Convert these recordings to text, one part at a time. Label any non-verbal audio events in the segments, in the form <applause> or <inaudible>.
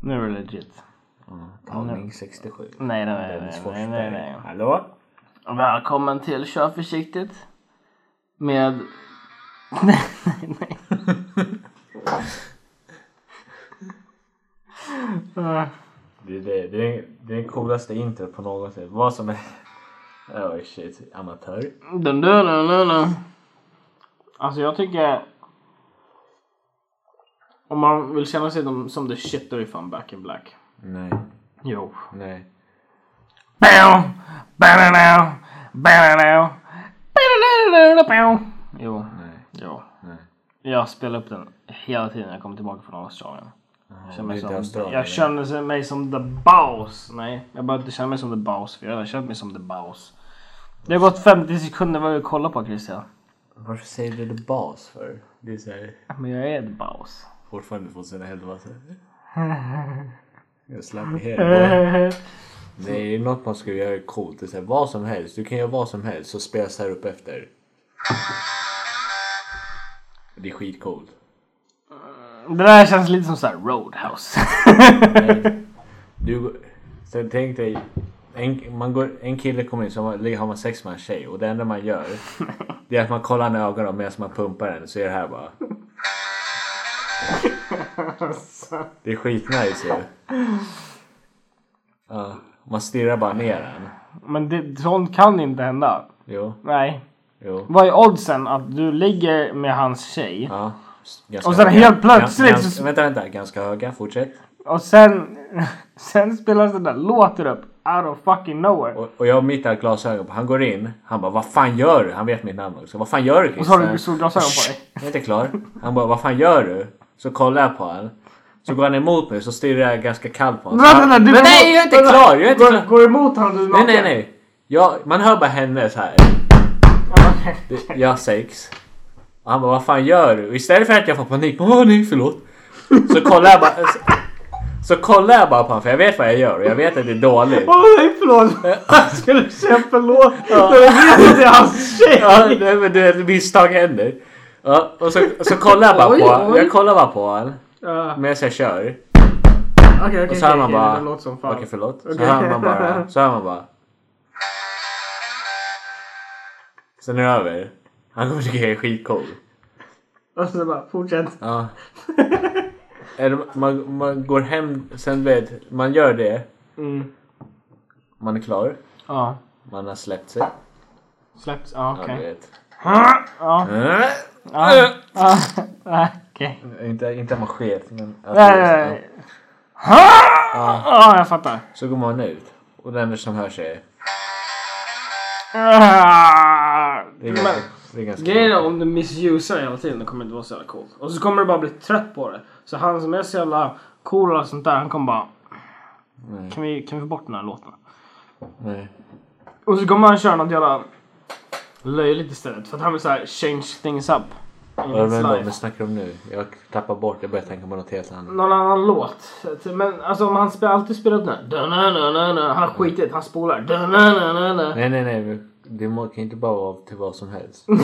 Nu är det legit. Tagning 67. Nej, nej, nej, Dennis nej, nej, nej, nej. Forsberg. Hallå? Välkommen till Kör försiktigt. Med... Nej, nej, nej. <laughs> Ah, Det, det, det, är- det är det coolaste introt på någonsin. Vad som är... Oh shit, amatör. dun, dun, dun, dun, dun. Alltså jag tycker... Om man vill känna sig som- som the shit då är fan back in black. Nej, Jo. nej. Bow, bow, bow, bow, bow, bow, bow, bow. Jo, Nej, jo. nej. Jag spelar upp den hela tiden när jag kommer tillbaka från Australien. Jag känner, det är mig inte som, Australien, jag det. känner mig som the boss. Nej, jag behöver inte känna mig som the boss för jag har känt mig som the boss. Det har gått 50 sekunder vad vi kollar på Christian. Varför säger du det bas för? Det är såhär... Men jag är the boss. Fortfarande 2011 så. Jag slapp i hela Nej, det är något man skulle göra coolt. Det är så här, vad som helst. Du kan göra vad som helst så spelas här upp efter. Det är skitcoolt. <laughs> Det där känns lite som såhär Roadhouse. <laughs> Du, sen tänk dig, en, man går, en kille kommer in så har man- har man sex med en tjej och det enda <laughs> man gör det är att man kollar henne i ögonen medan man pumpar henne så är det här bara. Det är skitnice ju. Ja, man stirrar bara ner den. Men det, sånt kan inte hända. Jo, Nej. jo. Vad är oddsen att du ligger med hans tjej Ja. Ganska Och sen höga. helt plötsligt Gans, så- gans, vänta, vänta. Ganska höga. Fortsätt. och sen, <laughs> sen spelas den där låten upp out of fucking nowhere. Och, och jag har mitt glasögon på. Han går in. Han bara vad fan gör du? Han vet mitt namn också. Vad fan gör du Och så har du Christian?" solglasögon på dig. Jag är inte klar. Han bara, vad fan gör du? Så kollar jag på honom. Så går han emot mig så stirrar jag ganska kallt på honom. Så Vänta, vänta, han- du- Men nej, jag är inte vänta. klar! Jag är inte Går, klar. går du emot honom? Du är Nej, naken? nej, nej. Jag, man hör bara henne så här. Okej. Det- Jag har sex. Och han bara, vad fan gör du? Och istället för att jag får panik, åh nej, förlåt. Så kollar jag bara. Så, så kollar jag bara på honom för jag vet vad jag gör och jag vet att det är dåligt. Åh nej förlåt! <laughs> Jag skulle säga förlåt! Ja. Men jag vet att det är hans tjej! Ja, nej, men du vet, misstag händer. Ja, och så, så kollar jag bara Oj, på honom. oj. Jag kollar bara på honom Ja. medan jag kör. Okej okej Och okej, så hör man okej, bara... det låter som fan. Okej, förlåt. Så Okej. hör man bara... Så hör man bara... Sen är det över. Han kommer tycka jag är skitcool. Och så bara fortsätt. Ja. <laughs> Eller man, man går hem, sen vet... Man gör det. Mm. Man är klar. Ja. Man har släppt sig. Släpps? Ja Ja, du okej. vet. Ja. Äh, Ja. Ja. Ja, Ah, Okej. Inte, inte att man sket, men... att Nej, det är så- nej, nej. Ah! Ja jag fattar. Så går man ut. Och den enda som hör sig är... Ah. Det är Men- ganska... Det är ganska Grejen är om du misusar det hela tiden det kommer inte vara så jävla coolt. Och så kommer du bara bli trött på det. Så han som är så jävla cool och sånt där han kommer bara... Nej. Kan vi, kan vi få bort den här låten? Nej. Och så kommer han köra något jävla löjligt istället. För att han vill såhär change things up. In Vad his menar du? life. Vad snackar du om nu? Jag tappar bort. Jag börjar tänka på något helt annat. Någon annan låt. Men alltså om han spel, alltid spelar upp den här. dun-dun-dun-dun-dun, Han skiter i det, han spolar. dun-dun-dun-dun-dun. Nej, nej, nej. men Det må- kan ju inte bara vara till vad som helst. Du,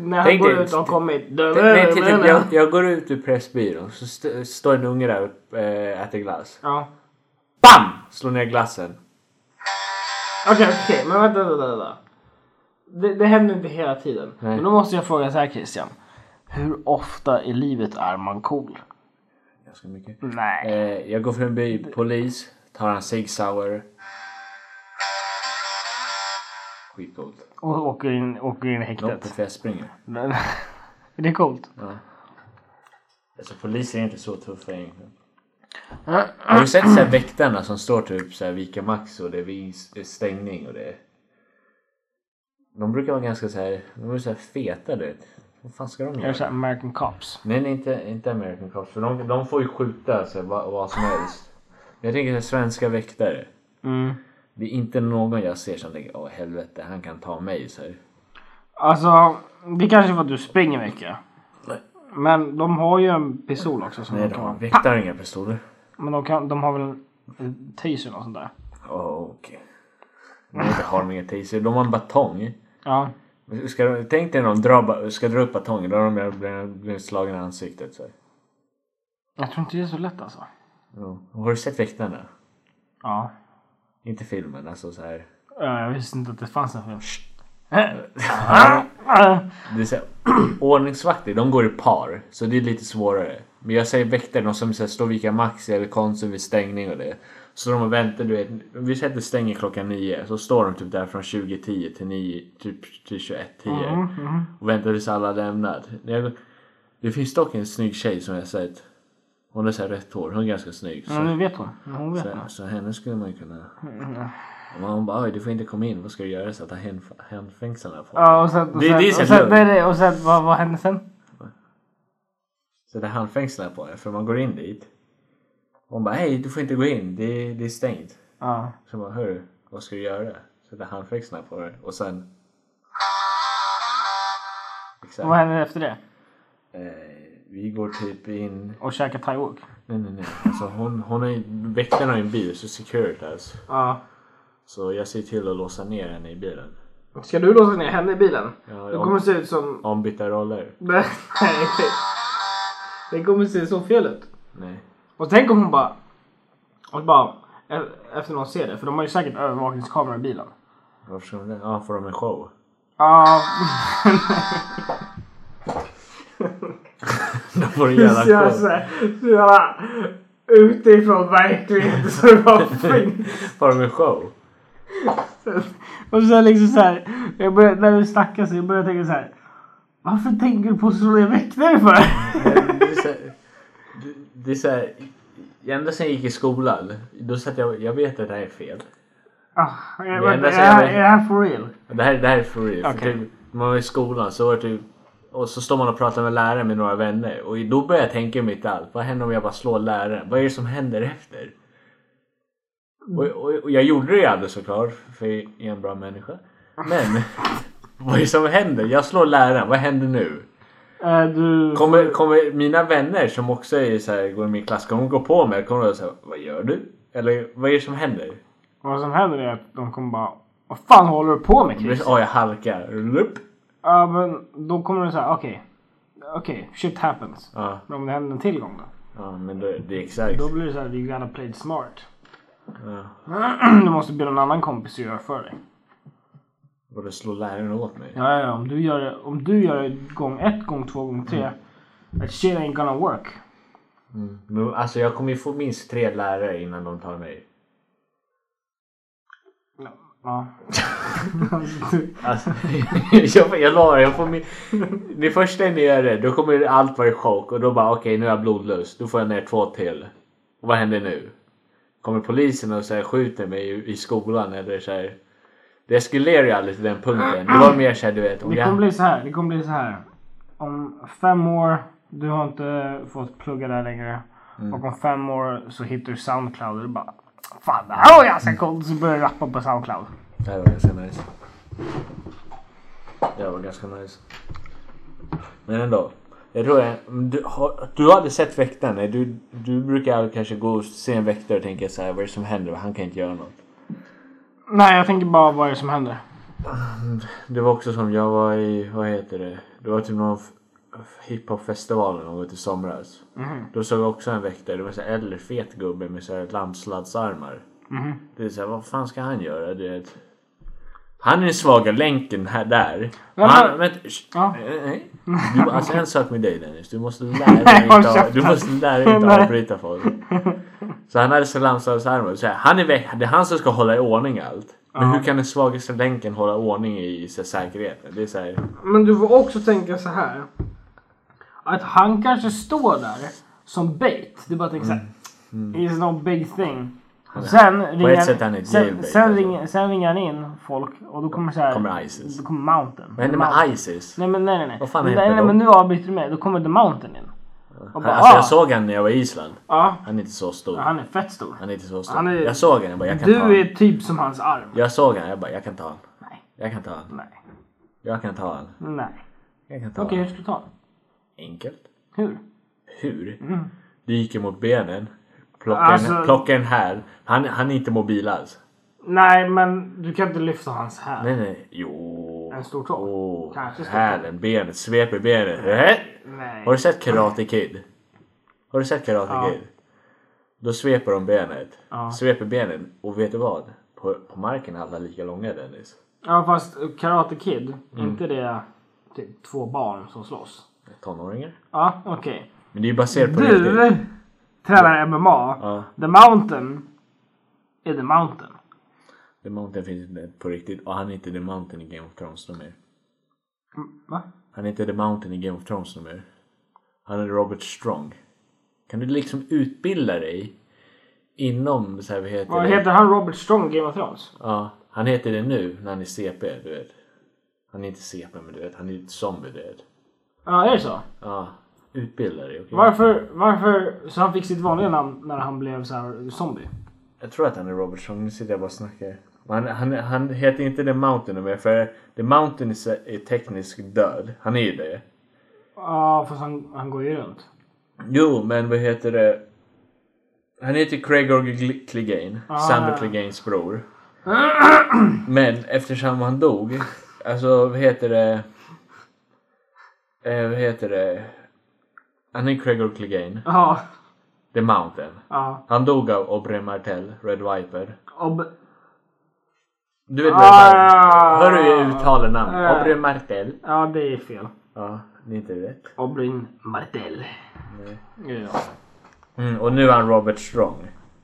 när han Tänk går dig- ut och har kommit. nej, till, typ, jag, dun-dun-dun-dun-dun. jag går ut ur Pressbyrån så st- står en unge där och eh, äter glass. Ja. BAM! Slår ner glassen. Okej, okej, men vänta, vänta, vänta. Det, det händer inte hela tiden. Nej. Men då måste jag fråga så här Christian. Hur ofta i livet är man cool? Ganska mycket. Nej. Eh, jag går förbi polis, tar en cig sour. Skitcoolt. Och åker in, åker in i Loppet häktet. för jag springer. Men- <laughs> det är coolt. Alltså poliser är inte så tuffa egentligen. Ah, Har du sett så här väktarna som står typ så här Vika Max och det är vis- det är stängning och det är... De brukar vara ganska så här, de är så här feta du vet. Vad fan ska de Jag är göra? så här American Cops. Nej, nej inte, inte American Cops för de, de får ju skjuta så här, vad, vad som helst. Men Jag tänker så här, svenska väktare. Mm. Det är inte någon jag ser som tänker åh helvete han kan ta mig så här. Alltså, det är kanske är för att du springer mycket. Nej. Men de har ju en pistol också som Nej, de de kan... har väktare har inga pistoler. Men de, kan, de har väl en- en taser och sånt där? Åh okej. Nej, inte har de inga taser. De har en batong. Ja. Ska de, tänk dig när de drar, ba- ska dra upp batongen, då har de blivit- blivit blivit slagna i ansiktet. Så. här. Jag tror inte det är så lätt alltså. Jo. Har du sett Väktarna? Ja. Inte filmen, alltså så här. Ja, Jag visste inte att det fanns en film. Det är så här, <clears throat> ordningsvakter, de går i par. Så det är lite svårare. Men jag säger väktare, de som så här, står och vikar Maxi eller Konsum vid stängning och det. Så de väntar, du vet. Vi säger att det stänger klockan nio. Så står de typ där från 20.10 till 9, typ till 21.10. Och väntar tills alla har lämnat. Det- Det finns dock en snygg tjej som jag har sett. Hon har så här rött hår, hon är ganska snygg. Så, Men nu vet hon. Hon vet så, nu. så henne skulle man ju kunna... Mm. Men hon bara, "Oj, du får inte komma in, vad ska du göra? Sätta händf- händfängslarna på Ja, och sen, och Det- sen, det är och så sen, lugnt. nej, nej, och sen vad, vad hände sen? Så det är handfängslar på er för man går in dit. Hon bara hej du får inte gå in, det är, det är stängt. Ja. Så jag bara hörru, vad ska du göra? Så det är handfängslar på er och sen... Exakt. Vad hände efter det? Eh, vi går typ in... Och käka thaiwok? Nej nej nej. Alltså hon, hon är, väktarna har ju en bil, så Securitas. Ja. Så jag ser till att låsa ner henne i bilen. Ska du låsa ner henne i bilen? Ja, Det kommer om, se ut som... <laughs> ombytta roller. Nej. Det kommer se så fel ut. Nej. Och tänk om hon bara... Och bara e- efter någon ser det, för de har ju säkert övervakningskamera i bilen. Varför ska de det? Ja, får de en show? <laughs> <laughs> Ja, de får en det ser jävla jag show. såhär. Så jävla utifrån verkligheten så det bara finns. Får de en show? Och så liksom såhär. Jag börjar, när du snackar så jag börjar tänka så här. Varför tänker du på slå väktare för? <laughs> Det är så här- det- det är så här, ända sen jag gick i skolan, då satt jag jag vet att det här är fel. Ah, enda jag, vänta, är, som det här- jag- är det här for real? Det här, det här är for real. För Okej. typ, när man var i skolan så var det typ, och så står man och pratar med läraren med några vänner och då börjar jag tänka mitt i allt. Vad händer om jag bara slår läraren? Vad är det som händer efter? Och, och, och jag gjorde det ju aldrig såklart, för jag är en bra människa. Men <laughs> vad är det som händer? Jag slår läraren, vad händer nu? Eh, du... Kommer, kommer mina vänner som också är så här, går i min klass, kommer de gå på mig? Kommer de säga vad gör du? Eller vad är det som händer? Vad som händer är att de kommer bara. Vad fan håller du på med Det blir Chris? så, "Åh, jag halkar. Lupp. Ja men då kommer du säga okej. Okej, shit happens. Ja, Men om det händer en till gång då? ja men det, det är exakt. Då blir det så här, you gotta play it smart. Ja. <clears throat> Du måste be någon annan kompis att göra för dig. Och då slår läraren åt mig. Ja, ja, ja, om du gör det, om du gör det gång ett, gång två, gång tre. That shit ain't gonna work. Men, alltså jag kommer ju få minst tre lärare innan de tar mig. <laughs> Ja. Alltså, <laughs> jag, jag lovar, jag får min... Det första ni gör det, då kommer allt vara i chock och då bara okej nu har jag blodlust. Då får jag ner två till. Och vad händer nu? Kommer polisen och så här, skjuter mig i, i skolan eller så här. Det eskalerar ju aldrig till den punkten. Det var mer såhär du vet. Om Det kommer jag, bli så här. Det kommer bli så här. Om fem år, du har inte fått plugga där längre. Och om fem år så hittar du Soundcloud och du bara Fan det här var ganska coolt. Så börjar du rappa på Soundcloud. det här var ganska nice. Det här var ganska nice. Men ändå. Jag tror jag, du, har, du har aldrig sett väktaren? nej? Du, du brukar kanske gå och se en väktare och tänka så här, vad är det som händer? Han kan inte göra något. Nej jag tänker bara vad är det som händer. Det var också som jag var i, vad heter det? Det var typ någon f- hiphopfestival eller något i somras. Mhm. Då såg jag också en väktare, det var en äldre fet gubbe med så här landsladdsarmar. Mhm. Det är såhär, vad fan ska han göra? Det är ett... Han är den svaga länken här där. Och han, Eh, men- men, Ja. nej, nej. Du, alltså en sak med dig Dennis, du <laughs> måste lära dig håll inte, av- du käften. måste lära dig inte Nej. avbryta folk. Så han hade så landsarmar. Så här, han är väck, det är han som ska hålla i ordning allt. Men hur kan den svagaste länken hålla ordning i så här, säkerheten? Det är så här, Men du får också tänka så här. Att han kanske står där som bait. Du bara tänker så här. It's no big thing. Och Sen ringer, sätt är han ett sen, jailbait, sen, alltså. ringer, sen ringer han in folk och då kommer så här, Kommer ISIS. Då kommer Mountain. vad händer Mountain. med Isis? Nej men nej nej. nej. Vad fan nej, heter nej, de? men nu avbryter du mig. Då kommer The Mountain in. Och bara, Alltså ah, jag såg han när jag var i Island. ja, Han är inte så stor. han är fett stor. Han är inte så stor. Han är- Jag såg honom, jag bara jag kan ta Du honom. är typ som hans arm. Jag såg honom, jag bara jag kan ta honom. Nej. Jag kan ta honom. Nej. Jag kan ta honom. Nej. Jag kan ta Okej, hur honom. ska du ta den? Enkelt. Hur? Hur? Du gick emot benen. Plocka, en, Mm. Alltså- plocka en här. Han, han är inte mobil alls. Nej, men du kan inte lyfta hans här. Nej, nej. Jo. En stor tå. Åh, Kanske stor tå. hälen, benet, svep i benet. Eh? Nej. Har du sett Karate Kid? Har du sett Karate Ja. Kid? Då sveper de benet. Ja. Sveper benen och vet du vad? På, på marken är alla lika långa Dennis. Ja fast eh, Karate Kid, Mm. inte det typ två barn som slåss? Tonåringar. Ja okej. Men det är ju baserat på Du tränar MMA. Ja. The Mountain är The Mountain. The Mountain finns inte på riktigt och han är inte The Mountain i Game of Thrones någon mer. Va? Han är inte The Mountain i Game of Thrones någon mer. Han är Robert Strong. Kan du liksom utbilda dig inom så här, vad heter Vad det? heter han Robert Strong i Game of Thrones? Ja, han heter det nu när han är CP, du vet. Han är inte CP men du vet, han är ett zombie du vet. Ja, är det så? Ja, utbilda dig, okej? Varför, varför... Så han fick sitt vanliga namn när han blev så här zombie? Jag tror att han är Robert Strong, nu sitter jag bara och snackar. Men han, han, han heter inte The Mountain mer för The Mountain är, så- är tekniskt död. Han är ju det. Ja, fast han, han går ju runt. Jo, men vad heter det? Han heter Craig Orgel Clegane, Ah. Sandra Cleganes bror. Men eftersom han dog, alltså vad heter det? Eh, vad heter det? Han är Craig Orgel Clegane, Ja, The Mountain. ja. Han dog av Aubrey Martell, Red Viper. Ob... Du vet vem Ah. det är? Hör du hur jag uttalar namn? Ah. Aubrey Martell. Ja, det är fel. Ja, det är inte rätt. Oberyn Martell. Ja. Mm, och nu är han Robert Strong.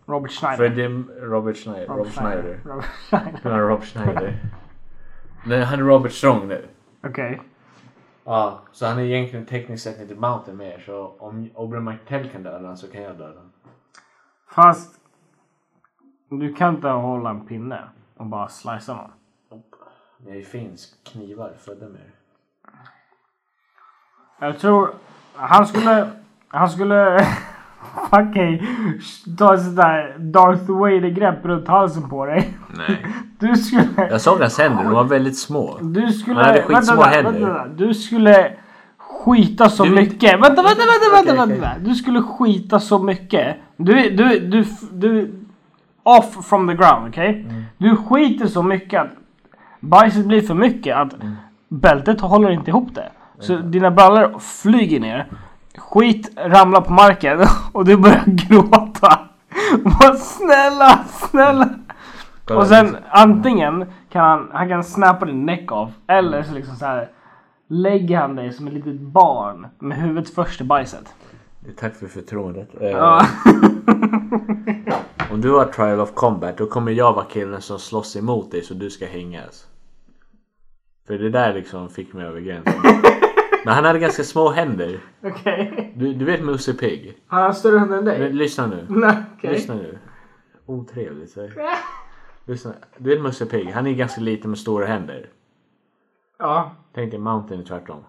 Robert Schneider. För det är Robert Schneider. Rob Schneider. Robert Schneider. <laughs> Ja, Rob Schneider. Nej, han är Robert Strong nu. Okej. Ja, så han är egentligen tekniskt sett inte Mountain mer. Så om Oberyn Martell kan döda honom så kan jag döda honom. Fast... Du kan inte hålla en pinne och bara slicea någon. Det är ju finsk knivar födda med Jag tror han skulle... Han skulle... <laughs> Fucking ta ett sånt där Darth Vader-grepp runt halsen på dig. Nej. Du skulle... Jag såg hans händer, de var väldigt små. Du skulle... Han hade skitsmå där, händer. vänta där. Du skulle skita så Du vet- mycket. Vänta, vänta, vänta, vänta, Okej, vänta. okej. där. Du skulle skita så mycket. Du, du, du, du... Off from the ground, okej? Mm. Du skiter så mycket att bajset blir för mycket. Att Mm. bältet håller inte ihop det. Så dina brallor flyger ner. Skit ramlar på marken <laughs> och du börjar gråta. <laughs> Vad snälla, snälla. Kolla, Och sen antingen kan han, han kan snappa din neck off eller så liksom så här lägger han dig som ett litet barn med huvudet först i bajset. Tack för förtroendet. Eh, Ja. Om du har trial of combat då kommer jag vara killen som slåss emot dig så du ska hängas. För det där liksom fick mig <laughs> över gränsen. Men han hade ganska små händer. <laughs> Okej. Du, du vet Musse Pigg? Han har större hund än dig? Men lyssna nu. <laughs> Nej, okej. Lyssna nu. Otrevligt. Så. Lyssna. Du vet Musse Pigg? Han är ganska liten med stora händer. Ja, Tänk dig Mountain är tvärtom.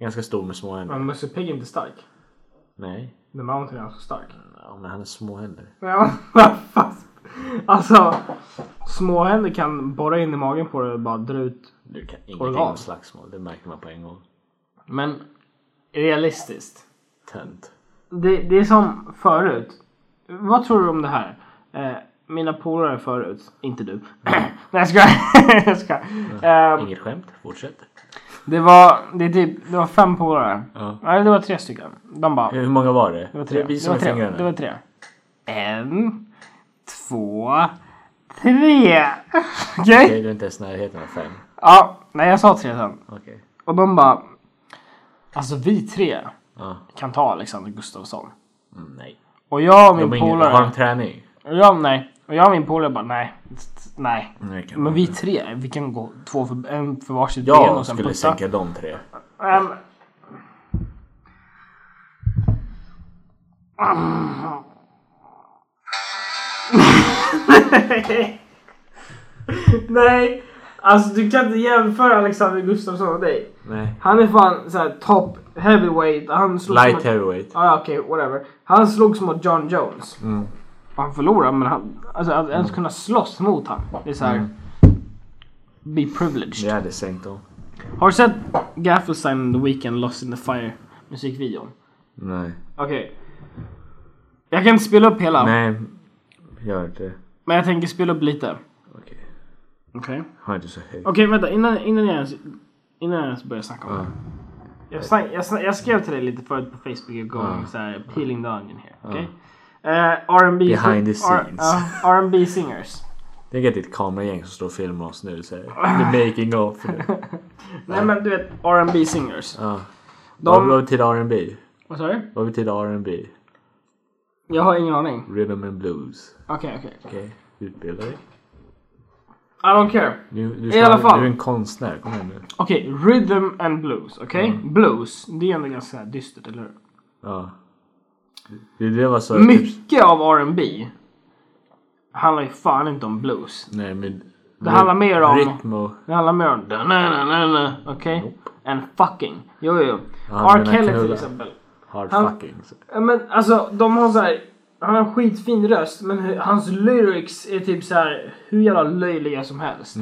Ganska stor med små händer. men Musse Pigg är inte stark. Nej. The Mountain är alltså stark. Ja, men han har små händer. <laughs> Ja, fast. Alltså, småhänder kan borra in i magen på dig och bara dra ut. Du kan ingenting Organ. om slagsmål. Det märker man på en gång. Men realistiskt. Tönt. Det, det är som förut. Vad tror du om det här? Eh, mina polare förut, inte du. <clears throat> Nej jag skojar. <laughs> jag skojar. Eh, Inget skämt. Fortsätt. det, var, det, är typ, det var fem polare. Ja. Nej det var tre stycken. De bara. Hur många var det? Det var tre. Det Visa var med tre. fingrarna. Det var tre. En, två, tre. <laughs> Okej? Okej, du är inte ens i närheten av fem. Ja, nej jag sa tre sen. Okej. Och de bara. Alltså vi tre Ja. kan ta Alexander Gustafsson. Mm, nej. Och jag och De har, min ingen, har polare. de träning? Och jag, nej. Och jag och min polare bara nej. Nej. Nej, kan Men vi tre, vi kan gå två för, en för varsitt ben Jag och sen skulle putta. sänka de tre. Ehm. <laughs> Nej, alltså du kan inte jämföra Alexander Gustafsson och dig. Nej. Han är fan såhär top heavyweight. Han slog Light heavyweight. Ah, ja, okej, whatever. Han slogs mot John Jones. Mm. Och han förlorade, men han, alltså, att ens kunna slåss mot han. Det är såhär... Mm. Be privileged. Jag hade sänkt dem. Har du sett Gaffelstein and the Weeknd Lost in the Fire musikvideon? Nej. Okej. Jag kan inte spela upp hela, Nej. Gör inte. men jag tänker spela upp lite. Okej. Okej. Okej, Har inte så högt. vänta. Innan, innan, jag ens, innan jag ens börjar snacka om Ja. det. Jag, snack, jag, snack, jag skrev till dig lite förut på Facebook, you're going Ja. så här, peeling the onion here. Okej? Eh, R&B Behind the R- scenes. ja, R&B singers. Tänk att det är ett kameragäng som står och filmar oss <laughs> nu. Så här, the making of. Nej men du vet R&B singers. Ja. Vad var De... vi till R&B? Vad sa du? Vad var vi till R&B? Jag har ingen aning. Rhythm and blues. Okej okej. Okej, utbilda dig. I don't care. Du, du, I alla fall. du är en konstnär, kom igen nu. Okej, rhythm and blues. Okej? Mm. Blues. Det är ändå ganska dystert, eller hur? Ja. Det, det var så... Typ, Mycket av R&B handlar ju fan inte om blues. nej men... Det handlar mer om- Rytm och... Det handlar mer om... da-na-na-na-na, Okej? And fucking. Jo, jo. Ja, R. men Kelly knulla. till exempel. Hard Han- fucking. Så. Ja, Men alltså, de har så här... Han har en skitfin röst, men hu- hans lyrics är typ så här hur jävla löjliga som helst.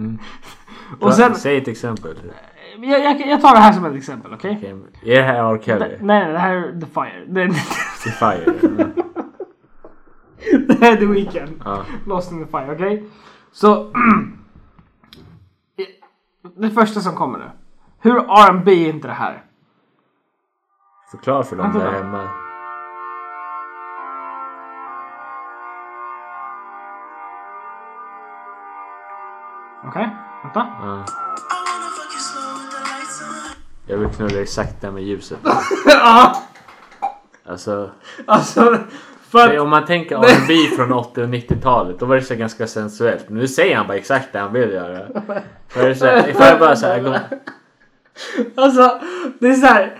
<laughs> och sen, Säg ett exempel. jag, jag, jag tar det här som ett exempel, okej? Okej, Är det här R. Kelly? Nej, nej, det här är <laughs> The Fire. Det, The Fire? <laughs> Ja. Det är The Weeknd. Ja. Lost in the fire, okej? Så... <clears throat> det första som kommer nu. Hur R&B är inte det här? Förklara för dem Vänta där då. hemma. Okej, vänta. <laughs> Ja. Jag vill knulla exakt där med ljuset. Ja, <laughs> Alltså, alltså... För det- att, om man tänker R&B från 80 och 90-talet, då var det så ganska sensuellt. Nu säger han bara exakt det han vill göra. Då är det <laughs> så här, ifall jag bara så här, går- alltså, det är så här.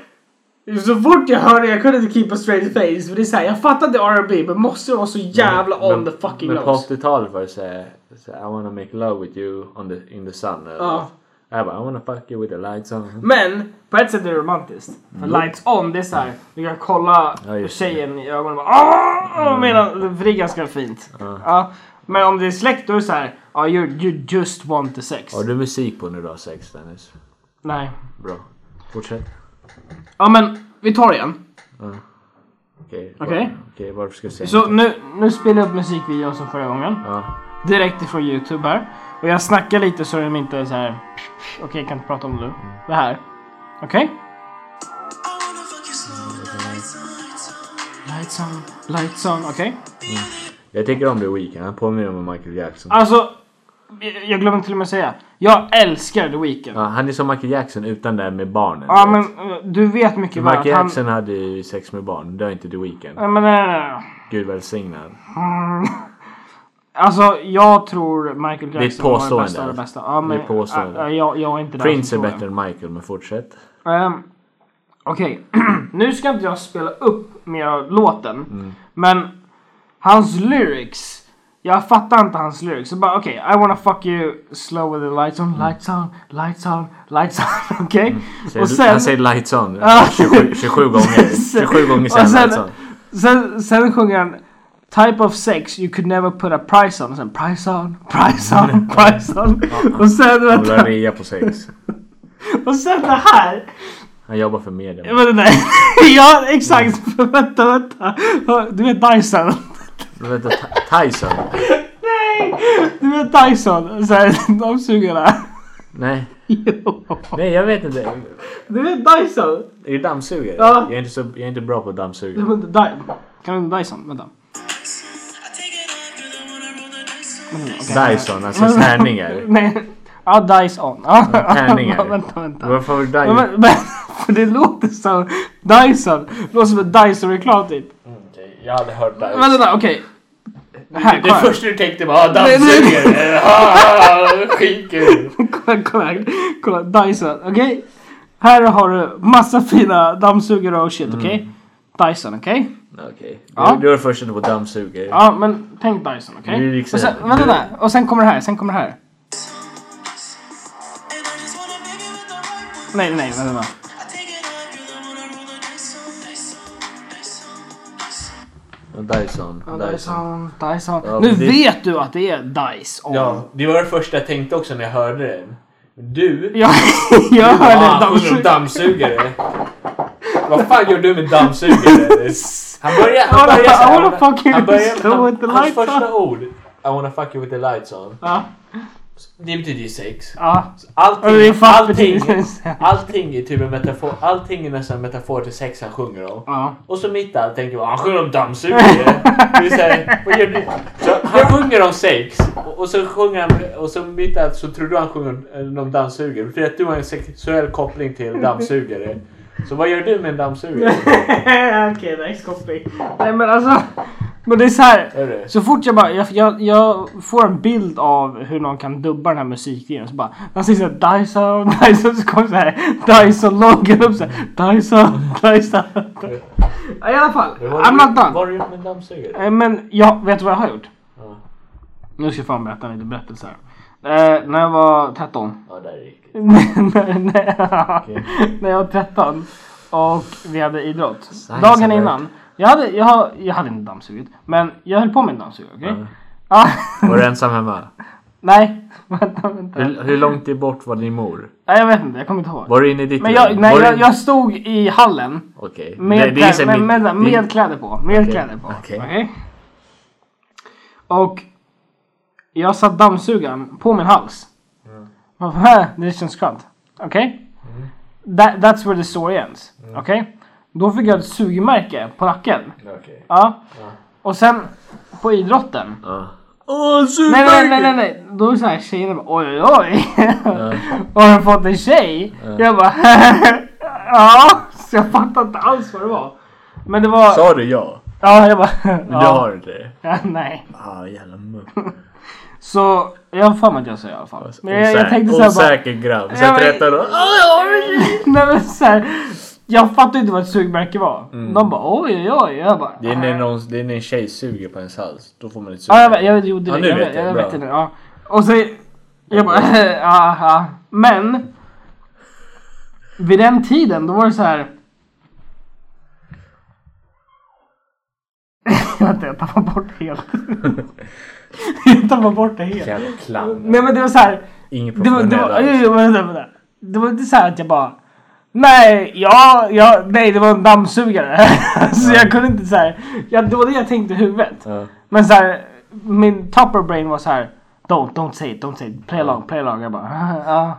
Så fort jag hörde jag kunde inte keep a straight face. För det är så här, jag fattade R&B men måste det vara så jävla on men- the fucking Men på nose? 80-talet var det så här, så här, I wanna make love with you on the, in the sun. Eller, Ja. Jag bara, I wanna fuck you with the lights on. Men på ett sätt är det romantiskt. För lights on, det är så här. Du kan kolla Ja, just det. Mm. tjejen i ögonen och bara "Åh!" medan, För det är ganska fint. Ja. Men om det är släkt då är det så här. Ja, you, you just want the sex. Har du musik på när du har sex Dennis? Nej. Bra. Fortsätt. Ja men vi tar det igen. Okej. Okej. Var, okej, varför ska jag säga Så nu, nu spelar jag upp musikvideon som förra gången. Ja. Direkt ifrån Youtube här. Och jag snackar lite så de inte är så här. Okej, jag kan inte prata om det nu. Det här. Okej? Lights on, lights on, okej? Jag tänker om The Weeknd. Han påminner om Michael Jackson. Alltså, jag- jag glömde till och med säga. Jag älskar The Weeknd. Ja, han är som Michael Jackson utan det här med barnen. Ja, men eh, du vet mycket väl Michael att han... Jackson hade ju sex med barn. Det har inte The Weeknd. Nej, men eh, nej, nej, nej. Gud välsigne han. Alltså, jag tror Michael är ett Jackson var den påstående. bästa av det bästa. Ja, men, Det är ett påstående. ja, jag, jag är inte där Prince är som tror bättre än Michael, men fortsätt. det. Ehm, Okej, <clears throat> nu ska inte jag spela upp mer av låten. Men hans lyrics. Jag fattar inte hans lyrics. Så bara okej, I wanna fuck you slow with the lights on, lights on, lights on, lights on. <laughs> Okej? Säger- Och sen- Han säger lights on. Ja. 27, 27 gånger. 27 gånger Och säger <laughs> han sen- lights on. Sen, sen sjunger han Type of sex you could never put a price on. Och sen price on, price on, price on. och, sen, Han vill ha vänta, rea på sex. och sen det här. Han jobbar för media. Jag vet inte, <laughs> ja exakt. <laughs> vänta, vänta. Du vet Dyson. Men Vänta, Ty- Tyson? Nej! Du vet Dyson. Så här, <laughs> de suger där. Nej. Jo. Nej, jag vet inte. Du vet Dyson. Är det dammsugare? Ja. Jag, är inte så, jag är inte bra på Du dammsugare. vet inte Dy- Kan du inte Dyson? Vänta. Dyson, alltså tärningar. Nej. Ja, Dyson. Ja. Tärningar. <laughs> Vänta, vänta. Varför har du Men, Dyson? men, men, <laughs> för det låter som Dyson. Det låter som en Dyson-reklam typ. Jag hade hört Dyson. Vänta, vänta, okej. Här, kolla. här. du "Ah, tänkte var Nej, nej. dammsugare. Skitkul. <laughs> Kolla, kolla, här. kolla. Dyson, okej? Här har du massa fina dammsugare och shit, okej? Mm. Dyson, okej? Okej. Ja. Du, du var först inne på dammsugare. Ja, men tänk Dyson, okej? Det är liksom- Och sen, vänta där. Och sen kommer det här, sen kommer det här. Nej, nej, vänta. vänta. Dyson. Dyson, Dyson. Ja, nu men det- vet du att det är Dyson. Ja, det var det första jag tänkte också när jag hörde den. Du? Ah, Jag, <laughs> jag hörde sjunger dammsugare. om dammsugare. Vad fan gör du med dammsugare? Han börjar... I Han wanna- börjar så här, I wanna fuck you han with the- börjar, with the han, hans lights första ord. I wanna fuck you with the lights on. Ja. Det betyder ju sex. Ja. Så Allting, Ja, det är fast allting, betydelsen. allting är typ en metafor. Allting är nästan en metafor till sex han sjunger om. Ja. Och så mitt i allt tänker man han sjunger om dammsugare. Det vill säga, vad gör du? Så <laughs> han sjunger om sex och, och så sjunger han och så mitt i allt så tror du han sjunger om- eh, om dammsugare. För att du har en sexuell koppling till dammsugare. Så vad gör du med en dammsugare? <laughs> Okej, nice copy. Nej men alltså. Men det är så här. Är <laughs> det? Så fort jag bara, jag, jag, jag får en bild av hur någon kan dubba den här musikvideon så bara, man ser såhär Dyson, <laughs> Dyson, så kommer såhär Dyson-loggan upp såhär Dyson, <laughs> Dyson. Ja, I alla fall, Vad har I'm du- not Vad done. har du gjort med en dammsugare? Eh, Men jag vet du vad jag har gjort? Ja. Nu ska jag fan berätta en liten berättelse här. Eh, när jag var 13 <laughs> Ja, där är riktigt. när, när, när jag var 13 och vi hade idrott. Dagen alert. innan. Jag hade, jag, har- jag hade inte dammsugit, men jag höll på med en dammsugare. Okej? Ja. Ah, <laughs> Mm. Var du ensam hemma? nej, vänta, vänta. Hur, hur långt i bort var din mor? Nej, jag vet inte, jag kommer inte ihåg. Var du inne i ditt Men jag, rum? nej, var jag, du... jag stod i hallen Okej. med, Det- det klä- är så med, mitt- med, med, din- kläder på. Med Okej, kläder på. okej. okej? Och jag satt dammsugaren på min hals. Mm. Och, "Hä, Det känns skönt. Okej? That, that's where the story ends. Mm. Okej? Då fick jag ett sugmärke på nacken. Okej. Ja. Och sen på idrotten. Ja. Åh, Nej, nej, nej, supermärke! nej, nej. Då är det så här tjejerna bara oj, oj, oj. <laughs> Har du fått en tjej? Jag bara <laughs> ja. Så jag fattade inte alls vad det var. Men det var... Sa du ja? Ja, jag bara Men du ja. har inte det? ja. Nej. Ah, <laughs> jävla mupp. Så jag har för mig att jag sa i alla fall. Men jag, jag tänkte så här bara... Alltså, Osäker grabb. Ja, Sen men- 13 år. Ah, <laughs> Nej men så här, Jag fattade inte vad ett sugmärke var. De bara oj, oj, oj. Jag bara... "Äh." Mm. Det är när, någon, det är när en tjej suger på ens hals. Då får man ett sug. Ja, jag vet, jag vet, jo, det, Ja, nu jag vet vet, jag. jag Bra. vet det nu. Ja. Och så, jag bara, <laughs> ja, ja. Men, vid den tiden, då var det så här. <laughs> Vänta, jag tappar bort det <laughs> helt. <laughs> jag tappar bort det helt. Jävla clown. Nej men det var så här. Ingen Det var, det var, professionell jo, alls. jo, vänta, vänta. Det var inte så här att jag bara Nej, ja, ja, nej det var en dammsugare. <laughs> så jag kunde inte så här. Ja, det var det jag tänkte i huvudet. Ja. Men så här, min topper brain var så här. Don't, don't say it, don't say it. Play along, play along. Jag bara, <laughs> ja.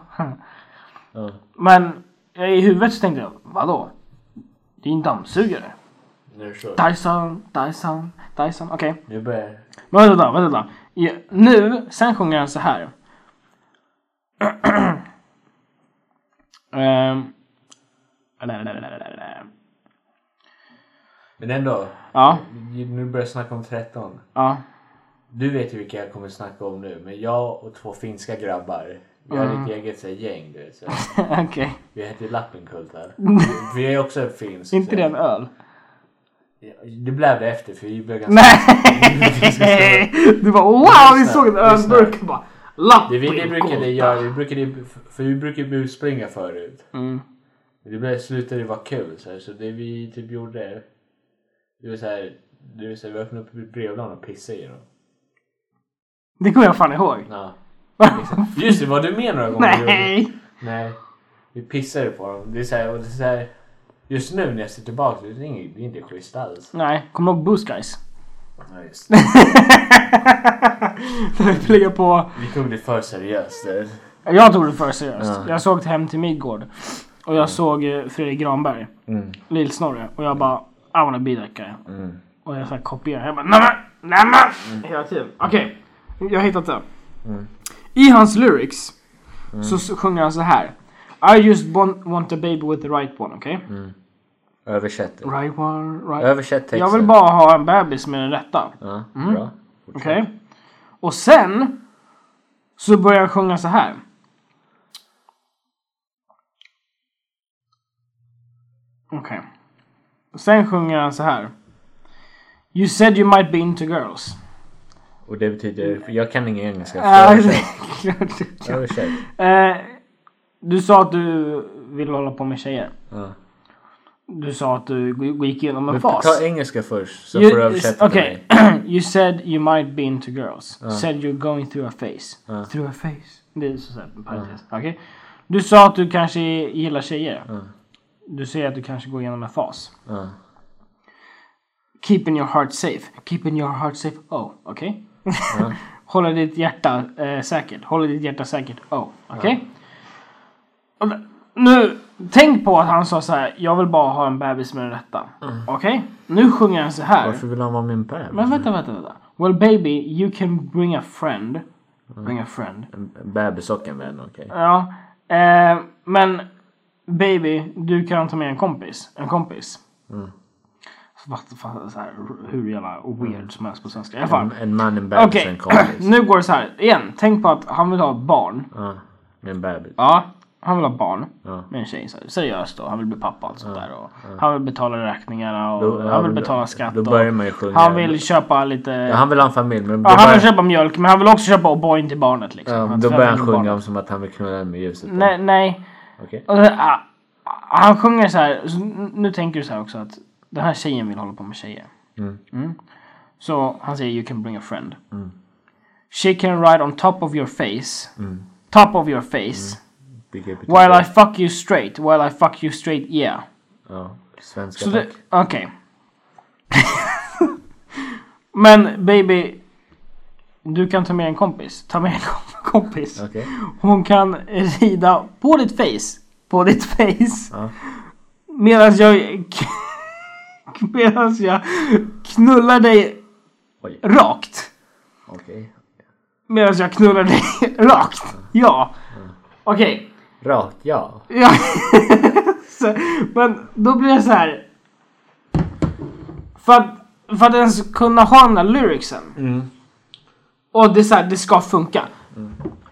Ja. Men eh, i huvudet så tänkte jag, vadå? Det är en dammsugare. Nu kör vi. Dyson, Dyson, Dyson. Okej. Nu börjar Men vänta, då, vänta. då. Ja, nu, sen sjunger han så här. <clears throat> Ehm. Men ändå. Ja, Nu börjar jag snacka om 13. ja. <laughs> Du vet ju vilka jag kommer snacka om nu, men jag och två finska grabbar, vi har Mm. ett eget så här, gäng. Du vet, så här. Okej. Vi heter Lappinkultar. <laughs> Vi är också finsk. Är inte så det här. en öl? Det blev det efter för vi blev ganska... <laughs> Nej! <laughs> Du bara wow, vi såg en ölburk. Bara, lapp Det vi det i brukade gatan. göra, vi brukade, för vi brukade busspringa förut. Mm. Men Det blev, slutade vara kul så, här, så det vi typ gjorde, det var så här, det var så här, vi öppnade upp brevlådan och pissade i dem. Det kommer jag fan ihåg. Ja. Just det, var du med några <laughs> gånger? Nej! Nej, vi pissade på dem. Det är så här, och det är så här, just nu när jag ser tillbaka det är inget- det är inte schysst alls. Nej, kommer du ihåg Boost <laughs> Guys? Ja, just det. När vi pluggar på Vi tog det för seriöst. det. Jag tog det för seriöst. Ja. Jag såg Hem till Midgård. Och jag såg eh, Fredrik Granberg. Mm. Lill-Snorre. Och jag bara I wanna be that guy. Mm. Och jag så här kopierade. Jag bara nämen! Nämen! Hela tiden. Okej. Jag har hittat det. Mm. I hans lyrics så s- sjunger han så här. I just want, want a baby with the right one. Okej? Mm. Översätt det. Right one, right Översätt texten. Jag vill bara ha en bebis med den rätta. Ja, bra. Okej. Och sen så börjar jag sjunga så här. Okej. Och Sen sjunger han så här. You said you might be into girls. Och det betyder... Jag kan ingen engelska. så Eh, Översätt. Översätt. eh, du sa att du ville hålla på med tjejer. Ja. Du sa att du g- gick igenom en Men fas. ta engelska först så You- får du översätta till okay. mig. <clears throat> you said you might be into girls. Said you're going through a phase. Through a phase. Det är så så här, en parentes. Okej. Du sa att du kanske gillar tjejer. Du säger att du kanske går igenom en fas. Ja. Keeping your heart safe. Keeping your heart safe. Oh, okej. <laughs> Håller ditt hjärta eh, säkert. Håller ditt hjärta säkert. Oh, okej? Och d- Nu, tänk på att han sa så här. Jag vill bara ha en bebis med den rätta. Okej? Nu sjunger han så här. Varför vill han vara min bebis? Men vänta, vänta, vänta. Well baby, you can bring a friend. Bring a friend. En bebis och en vän, okej. Ja. Eh, men baby, du kan ta med en kompis. En kompis. Mm. så här, hur jävla Mm. weird som helst på svenska. I alla fall. En, en man, en bebis och Okej, en <clears throat> kompis. nu går det så här. Igen, tänk på att han vill ha ett barn. Ja, med en bebis. Ja, han vill ha barn Ja. med en tjej. Så här, seriöst då, han vill bli pappa och allt sånt där. Och Han vill betala räkningarna och Då- ja, han vill då- betala skatt. då börjar och man ju sjunga. Han vill köpa lite... Ja, han vill ha en familj, men då Ja, han vill börjar, köpa mjölk men han vill också köpa O'boy till barnet. Liksom. ja, Att då börjar han föräldrar sjunga barnet. om som att han vill knulla den med ljuset. på. Nej, nej. Okej. Och, så- ah, ah, han sjunger så här. Så n- nu tänker du så här också att den här tjejen vill hålla på med tjejer. Mm. Så han säger you can bring a friend. Mm. She can ride on top of your face. Mm. Top of your face. Vilket betyder- While I fuck you straight. While I fuck you straight yeah. Ja, svenska Så det, tack. okej. <laughs> Men baby. Du kan ta med en kompis. Ta med en <laughs> kom- kompis. Okej. Hon kan rida på ditt face. På ditt face. Ja. Medan jag... <laughs> Medan jag knullar dig Oj, rakt. okej. Medan jag knullar dig <laughs> rakt. Ja. Okej. Rakt, <laughs> ja. Ja. så, men då blir det så här. För att, för att ens kunna ha den där lyricsen. Mm. Och det är så här, det ska funka.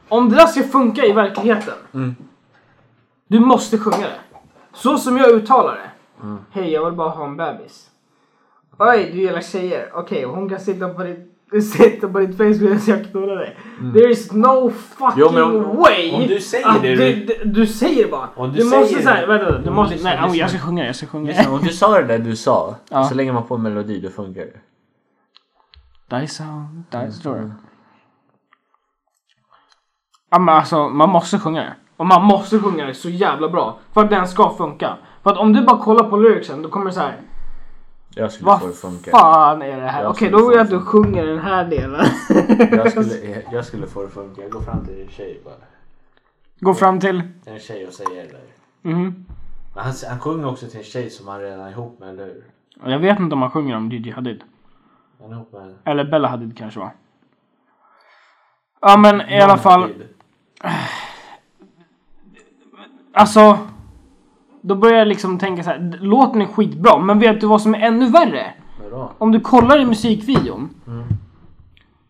Om det där ska funka i verkligheten. Mm. Du måste sjunga det. Så som jag uttalar det. Mm. Hej, jag vill bara ha en bebis. Oj, du gillar tjejer. Okej, hon kan sitta på ditt, <laughs> sitta på ditt face medan jag knullar dig. There is no fucking Jo, men om- way. Mm. om du säger att det, Du, du, du säger bara. Om du du måste säger så här, det- vänta, vänta, du Om måste, du- nej, lyssna. oh, jag ska sjunga, jag ska sjunga. Om du sa det där du sa, Ja. så lägger man på en melodi, då funkar det. Die sound, die Mm. story. Ja men alltså man måste sjunga det. Och man måste sjunga det så jävla bra. För att den ska funka. För att om du bara kollar på lyricsen då kommer det så här. Jag skulle Vad få det att funka. fan är det här? Jag Okej skulle då vill få jag att det du sjunger den här delen. <laughs> Jag skulle, jag skulle få det att funka. Jag går fram till en tjej bara. Gå fram till. En tjej och säger det. Mhm. Men han, han sjunger också till en tjej som han redan är ihop med, eller hur? Jag vet inte om han sjunger om Gigi Hadid. Han är ihop med... Eller Bella Hadid kanske va? Ja men i alla fall. Alltså. Då börjar jag liksom tänka så här. Låten är skitbra men vet du vad som är ännu värre? Vadå? Mm. Om du kollar i musikvideon.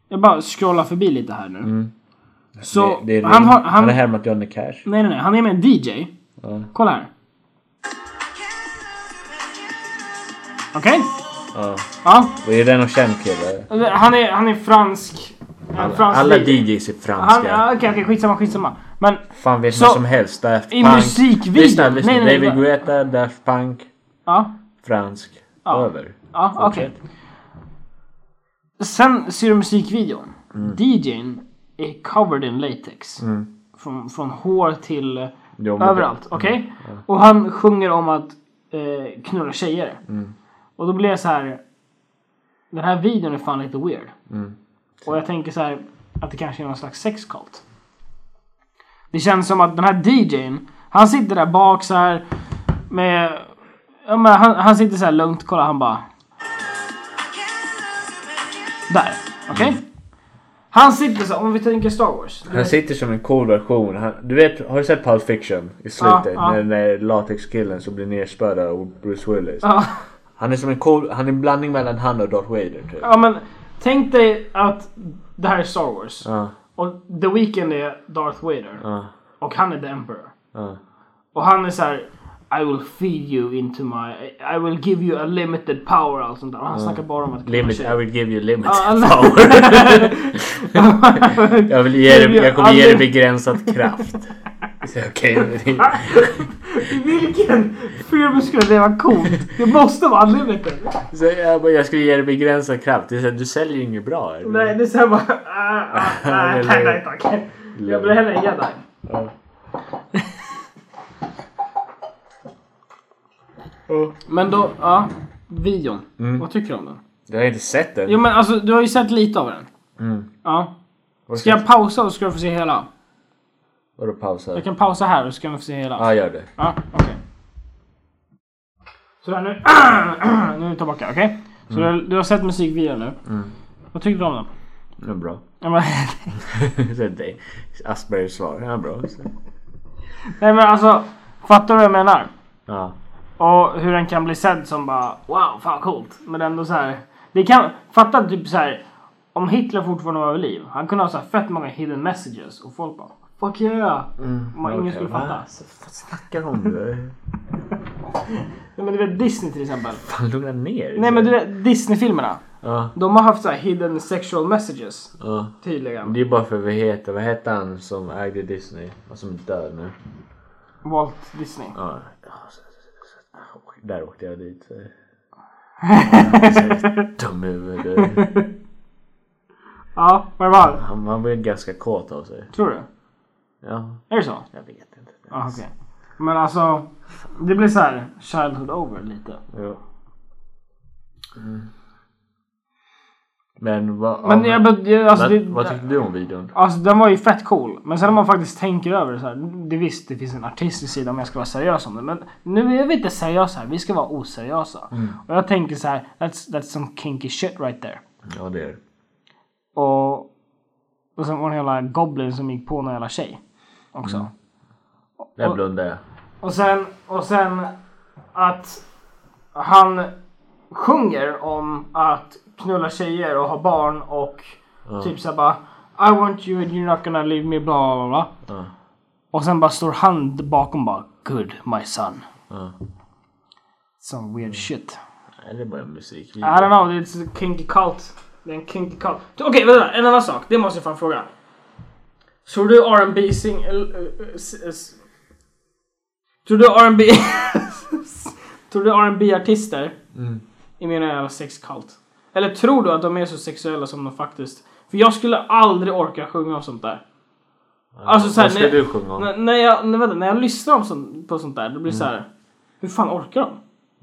Jag bara scrollar förbi lite här nu. Så han, har, han, är här med Johnny Cash. nej, nej, nej, han är med en DJ. Kolla här. Okej. Ja. Ja. Och är det någon känd kille? Han är, han är fransk. En fransk Alla DJ. DJs är Han, franska. ja, okej, okej, skitsamma, skitsamma. Men Fan vet Så- vad som helst. Daft i Punk. musikvideon- Lyssna, lyssna. Nej, nej, nej, David Guetta, Daft Punk, ja, fransk. Ja. Över. ja okej. Fortsätt. Sen ser du musikvideon. DJn är covered in latex. Från, från hår till Jo, men- överallt. Okej? Och han sjunger om att eh, knulla tjejer. Och då blir jag så här. Den här videon är fan lite weird. Och jag tänker så här att det kanske är någon slags sexkult. Det känns som att den här DJn, han sitter där bak så här med... Ja, men han, han sitter så här lugnt, kolla han bara... Där, okej? Mm. Han sitter så här, om vi tänker Star Wars. Han sitter som en cool version. Han, du vet, har du sett Pulp Fiction? I slutet Ja, ja. när den där latexkillen som blir nerspöad av Bruce Willis. Ja, Han är som en cool, han är en blandning mellan han och Darth Vader typ. ja men tänk dig att det här är Star Wars. Ja, Och The Weeknd är Darth Vader. ja, Och han är The Emperor. ja. Och han är så här. I will feed you into my... I will give you a limited power och allt sånt där. Och han snackar bara om att... Limit, I will give you limit. Ja, alltså. alla- <laughs> jag, vill ge dig, jag kommer Alltså. ge dig begränsad kraft. Så, Okej, okay. Vilken film skulle det vara coolt? Det måste vara unlimited. så jag, bara, jag skulle ge dig begränsad kraft. Det är så, här, du säljer ju inget bra. eller? Nej, det är såhär bara... <laughs> ah, ah, Nej, nej, nej tack. Jag blir hellre en jedi. <laughs> Ja. Men då, Mm. ja. Videon. Vad tycker du om den? Du har inte sett den? Jo men alltså du har ju sett lite av den. Mm. Ja. Var Ska jag pausa och ska du få se hela? Vadå pausa? Jag kan pausa här och så kan du få se hela. Ja, gör det. Ja, okej. Sådär nu. <clears throat> nu är vi tillbaka, okej? Så du, du har sett musikvideon nu. Mm. Vad tyckte du om den? Det är bra. Ja, men- <laughs> <laughs> Så det- Aspergers svar. Ja, bra. Så. Nej men alltså, fattar du vad jag menar? Ja. Och hur den kan bli sedd som bara wow, fan coolt. Men ändå så här. Det kan, fatta typ så här. Om Hitler fortfarande var vid liv, han kunde ha så här fett många hidden messages och folk bara Fuck yeah! Man, ingen skulle Mm, va? fatta. Så, vad snackar du om? du? Nej, men du vet Disney till exempel. Fan, lugna ner Nej men du vet Disney-filmerna. Ja, De har haft så här hidden sexual messages. ja. Tydligen. Det är bara för vi heter, vad hette han som ägde Disney och som är död nu? Walt Disney. Ja. Där åkte jag dit. <laughs> Så. Dum huvud. Ja, vad var Han, han blev ganska kåt av sig. Tror du? Ja, Är det så? jag vet inte. Ja, okej. Men alltså. Det blir så här childhood over lite. Ja. Mm. Men, vad, Men jag, jag alltså, vad, det, vad tyckte du om videon? Alltså den var ju fett cool. Men sen om man faktiskt tänker över det så här. Det visst, det finns en artistisk sida om jag ska vara seriös om det. Men nu är vi inte seriösa här. Vi ska vara oseriösa. Och jag tänker så här. That's, that's some kinky shit right there. Ja, det är det. Och, och sen var det en jävla goblin som gick på någon jävla tjej. Också. Där blundade jag. Och sen, och sen att han sjunger om att knulla tjejer och ha barn och typ såhär bara I want you and you're not gonna leave me bla bla bla. Ja. Och sen bara står han bakom bara Good my son. Ja. Some weird shit. Nej, det är bara musik. I don't know, it's a kinky cult. Det är en kinky cult. Okej, vänta. En annan sak. Det måste jag fan fråga. Tror du R&B sing... el- eh, eh, s- eh, s- Tror du R&B... <laughs> tror du R&B artister Mm. är mer en jävla sexkult? Eller tror du att de är så sexuella som de faktiskt... För jag skulle aldrig orka sjunga om sånt där. Alltså såhär... Vad ska du sjunga om? När, när, jag, när, vänta, när jag lyssnar om sånt, på sånt där, då blir det så såhär... Hur fan orkar de?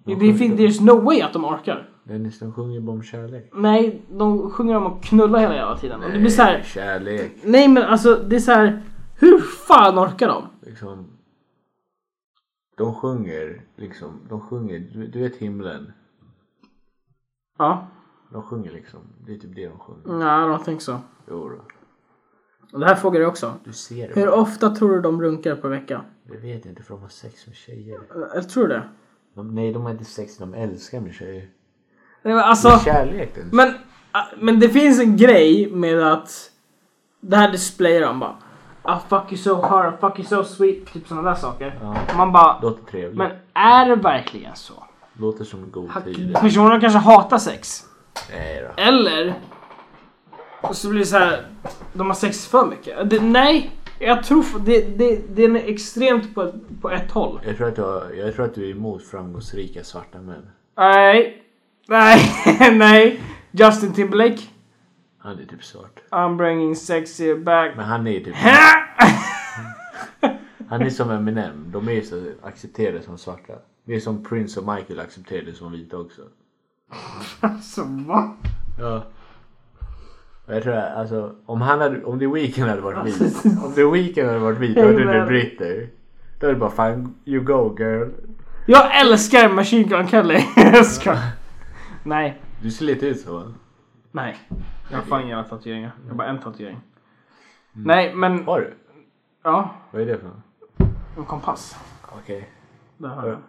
Det, det, fin- there's no way att de orkar. Dennis, de sjunger bara om kärlek. Nej, de sjunger om att knulla hela jävla tiden. Och det blir så här, Kärlek, nej men alltså det är så här, hur fan orkar de? liksom. De sjunger, liksom. De sjunger, du, du vet himlen. Ja, De sjunger liksom. Det är typ det de sjunger. nej jag don't think so. Jo då. Och det här frågar jag också. Du ser Hur det. ofta tror du de runkar per vecka? Jag vet inte för de har sex med tjejer. Eller tror du det? De, nej, de har inte sex, de älskar med tjejer. Nej, men Det alltså, är kärlek Dennis. men, ah, men det finns en grej med att det här displayar de bara. I fuck you so hard, I fuck you so sweet, typ sådana där saker. Ja. Man bara, Låter trevligt. men är det verkligen så? Låter som god tid. Personerna kanske hatar sex. Nej då. Eller och så blir det så här. De har sex för mycket. Det, nej, jag tror f- det, det, det är extremt på, på ett håll. Jag tror, att du har, jag tror att du är emot framgångsrika svarta män. Nej, nej, <laughs> nej. Justin Timberlake. Han är typ svart. I'm bringing sexy back. Men han är ju typ... Han är som Eminem. De är ju så accepterade som svarta. Det är som Prince och Michael accepterade som vita också. alltså va? Ja. Och jag tror att, alltså, om, han hade, om The Weeknd hade varit Alltså, vit. om The Weeknd hade varit vit, då hade det Amen. britter. Då är det bara fan, you go girl. Jag älskar Machine Gun Kelly. <laughs> Jag skojar. Nej, Du ser lite ut så. va? nej. Jag har fan inga tatueringar. Jag har bara en tatuering. Mm. Nej, men Har du? ja. Vad är det för något? En kompass. Okej. Där har jag. den.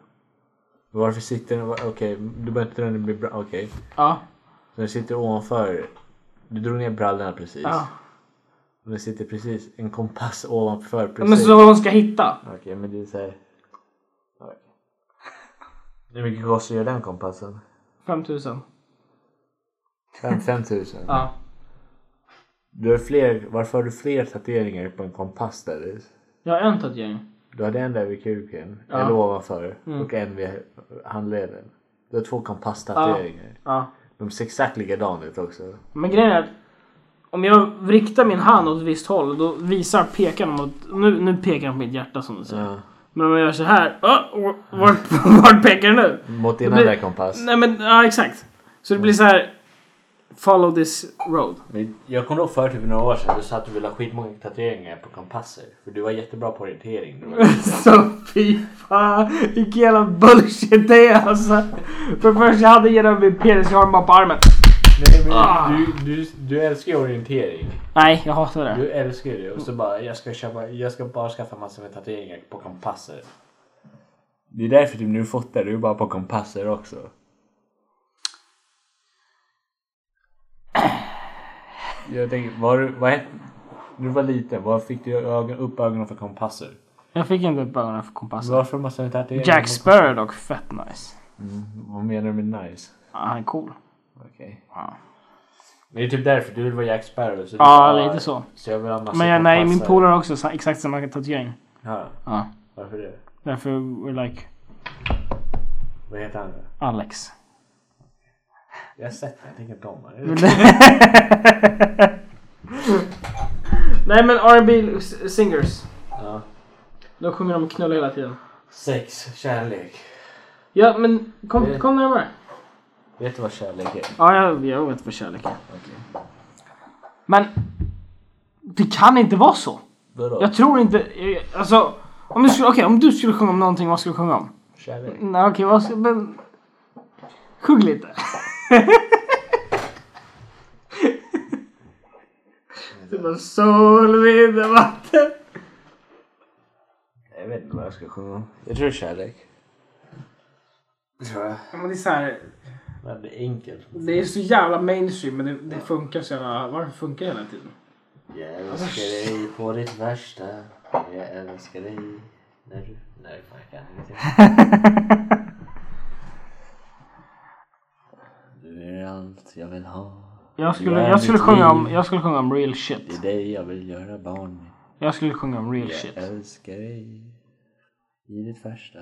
Varför sitter den... Okej, du behöver inte dra den blir bra. Okej. Ja, Så den sitter ovanför. Du drog ner brallorna precis. ja. Och den sitter precis en kompass ovanför precis. Men så hon ska hitta. Okej, men det är såhär... Hur mycket kostar gör den kompassen? 5000. 5 5000? Ja. Du har fler, varför har du fler tatueringar på en kompass där? Jag har en tatuering. Du hade en där vid kuken, Ja. eller ovanför, och en vid handleden. Du har två kompasstatueringar. Ja. De ser exakt likadana ut också. Men grejen är att om jag riktar min hand åt ett visst håll då visar pekan mot... Nu, nu pekar den på mitt hjärta som du säger. Ja. Men om jag gör så här. Oh, vart, <laughs> vart pekar den nu? Mot din Det blir- andra kompass. Nej men ja exakt. Så det blir så här. Follow this road. <laughs> Men jag kommer ihåg för typ några år sedan du sa att du ville ha skitmånga tatueringar på kompasser. För du var jättebra på orientering. Du var- Så fy fan. Vilken jävla bullshit det är alltså. För först jag hade genom min penis, jag har den bara på armen. <laughs> Nej, men du, du, du älskar ju orientering. Nej, jag hatar det. Du älskar ju det. Och så bara jag ska, köpa, jag ska bara skaffa massor med tatueringar på kompasser. Det är därför typ, när du fotar, du är bara på kompasser också. Jag tänker, var, du- vad hette... När du var liten, vad fick du ögon, upp ögonen för kompasser? Jag fick inte upp ögonen för kompassen. Varför måste man tatuera? Jack Sparrow är dock fett nice. Vad menar du med nice? Ja, han är cool. Okej. Ja. Det är typ därför du vill vara Jack Sparrow. Så du Ja, alltså, bara- lite så. Så jag vill ha massa Men jag, nej, min kompassar. polare har också sa- exakt samma tatuering. Ja, Ja. varför det? Därför we're like Vad heter han då? Alex. Jag har sett det, jag tänker på honom. <laughs> Nej men R&B s- singers. Ja. Då sjunger de knulla hela tiden. Sex, kärlek. Ja men kom, kom närmare. Vet du vad kärlek är? Ja jag, jag vet vad kärlek är. Men det kan inte vara så. Vadå? Jag tror inte, jag- alltså. Om du skulle, okej, om du skulle sjunga om någonting, vad skulle du sjunga om? Kärlek. Nej okej, vad ska, men... Sjung lite. Det var sol, vind och vatten. Jag vet inte vad jag ska sjunga om. Jag tror kärlek. Det tror jag. Men det, är så här, Men det är enkelt. det är så jävla mainstream men det, det funkar så jävla... Varför funkar det hela tiden? Jag älskar dig på ditt värsta. Jag älskar dig. När du... Nej, fan, jag kan ingenting. <laughs> Du är allt jag vill ha. Jag skulle, Ja, jag, skulle mitt sjunga om, liv. jag skulle sjunga om real Det är shit. dig jag vill göra barn med. Jag skulle sjunga om real Jag Oh, shit. älskar dig i ditt värsta.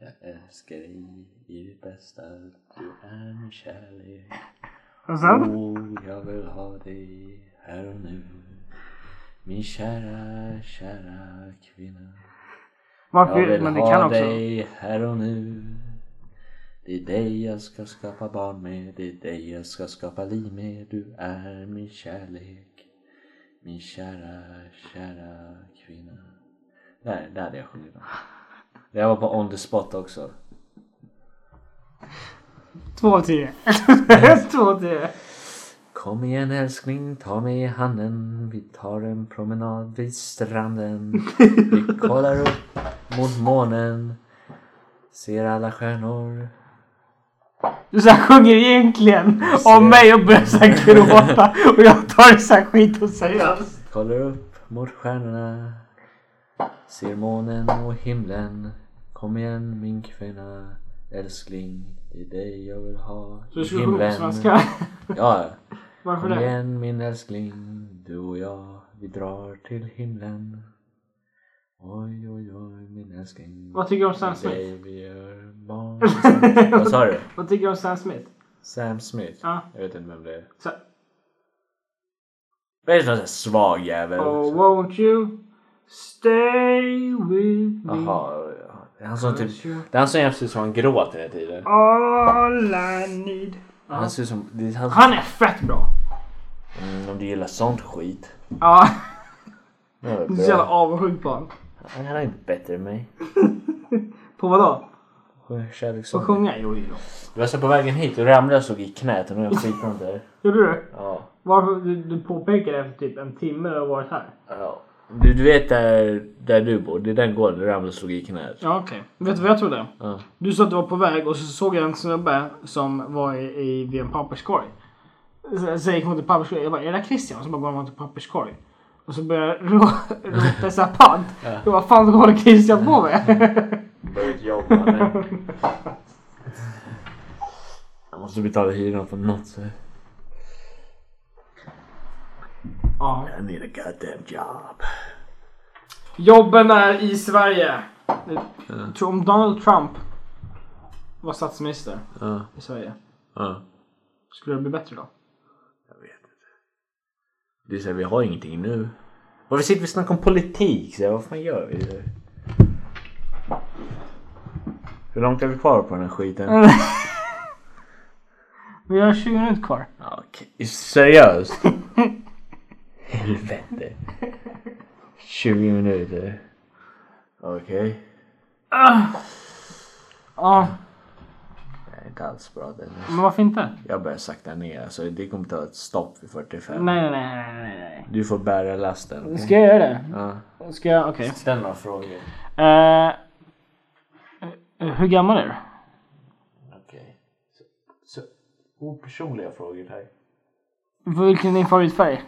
Jag älskar dig i ditt bästa. Du är min kärlek. Och sen? Och jag vill ha dig här och nu. Min kära, kära kvinna. Man, Jag vill men det kan ha också... dig här och nu. Det är dig jag ska skapa barn med. Det är dig jag ska skapa liv med. Du är min kärlek. Min kära, kära kvinna. Där, där hade jag sjungit om. Det här var på on the spot också. Två av tio. <laughs> Två av tio. Kom igen älskling, ta mig i handen. Vi tar en promenad vid stranden. Vi kollar upp mot månen. Ser alla stjärnor. Du så här sjunger egentligen om mig och börjar så här gråta och jag tar det så här skit och seriöst. Kollar upp mot stjärnorna Ser månen och himlen Kom igen min kvinna Älskling, det är dig jag vill ha i himlen. <laughs> Ja, <laughs> Varför kom det? igen min älskling Du och jag, vi drar till himlen Oj, oj, oj min älskling Vad tycker du om Sam Det är Smith? dig <laughs> vi gör barn Vad sa du? Vad tycker du om Sam Smith? Sam Smith? Ja. Jag vet inte vem det är Så, Det är en sån här svag jävel oh, won't you stay with me Jaha, det är han som typ... Mm. Det är han som jämt ser ut som han gråter hela tiden. all I need. Han ser ut som... Det är han som... Han är fett bra. Mm, om du gillar sånt skit. Ja, <laughs> Det var jag är så jävla bra. avundsjuk på honom. Han är inte bättre än mig. På vadå? På att Kärlekssång. sjunga? Jo, jo, jo. Jag var så på vägen hit och ramlade och slog i knät och nu är jag skitont där. Gjorde du? Ja. Varför du, du påpekade efter typ en timme du har varit här? ja. Du, du vet där, där du bor, det är den gården du ramlade och slog i knät. Ja, okej. Vet du vad jag trodde? Ja. Du sa att du var på väg och så såg jag en snubbe som var i, i, vid en papperskorg. Så, så jag gick mot en papperskorg. Jag bara, är det där Christian? Och så bara går han mot en papperskorg. Och så börjar jag rå- <laughs> rota såhär pant. Jag bara, fan vad håller Christian på <laughs> med? Börjat jobba nu. Jag måste betala hyran på något sätt. ja. I need a goddamn job. Jobben är i Sverige. Jag tror om Donald Trump var statsminister Ja. i Sverige. Ja. Skulle det bli bättre då? Jag vet inte. Det är så här, vi har ingenting nu. Varför sitter vi och snackar om politik? Så här, vad fan gör vi? Hur långt är vi kvar på den här skiten? Vi har 20 minuter kvar. Ja, Okej, seriöst? Helvete. 20 minuter. Okej. Ja, Det är inte alls bra det. men varför inte? Jag börjar sakta ner. Alltså, det kommer ta ett stopp vid 45. Nej, nej, nej, nej, nej. Du får bära lasten. nej. Ska jag göra det? Mm. Ja. Ska jag? Okej. Ställ några frågor. Eh, eh, hur gammal är du? Okej. Så, så opersonliga frågor här. Vilken är din favoritfärg?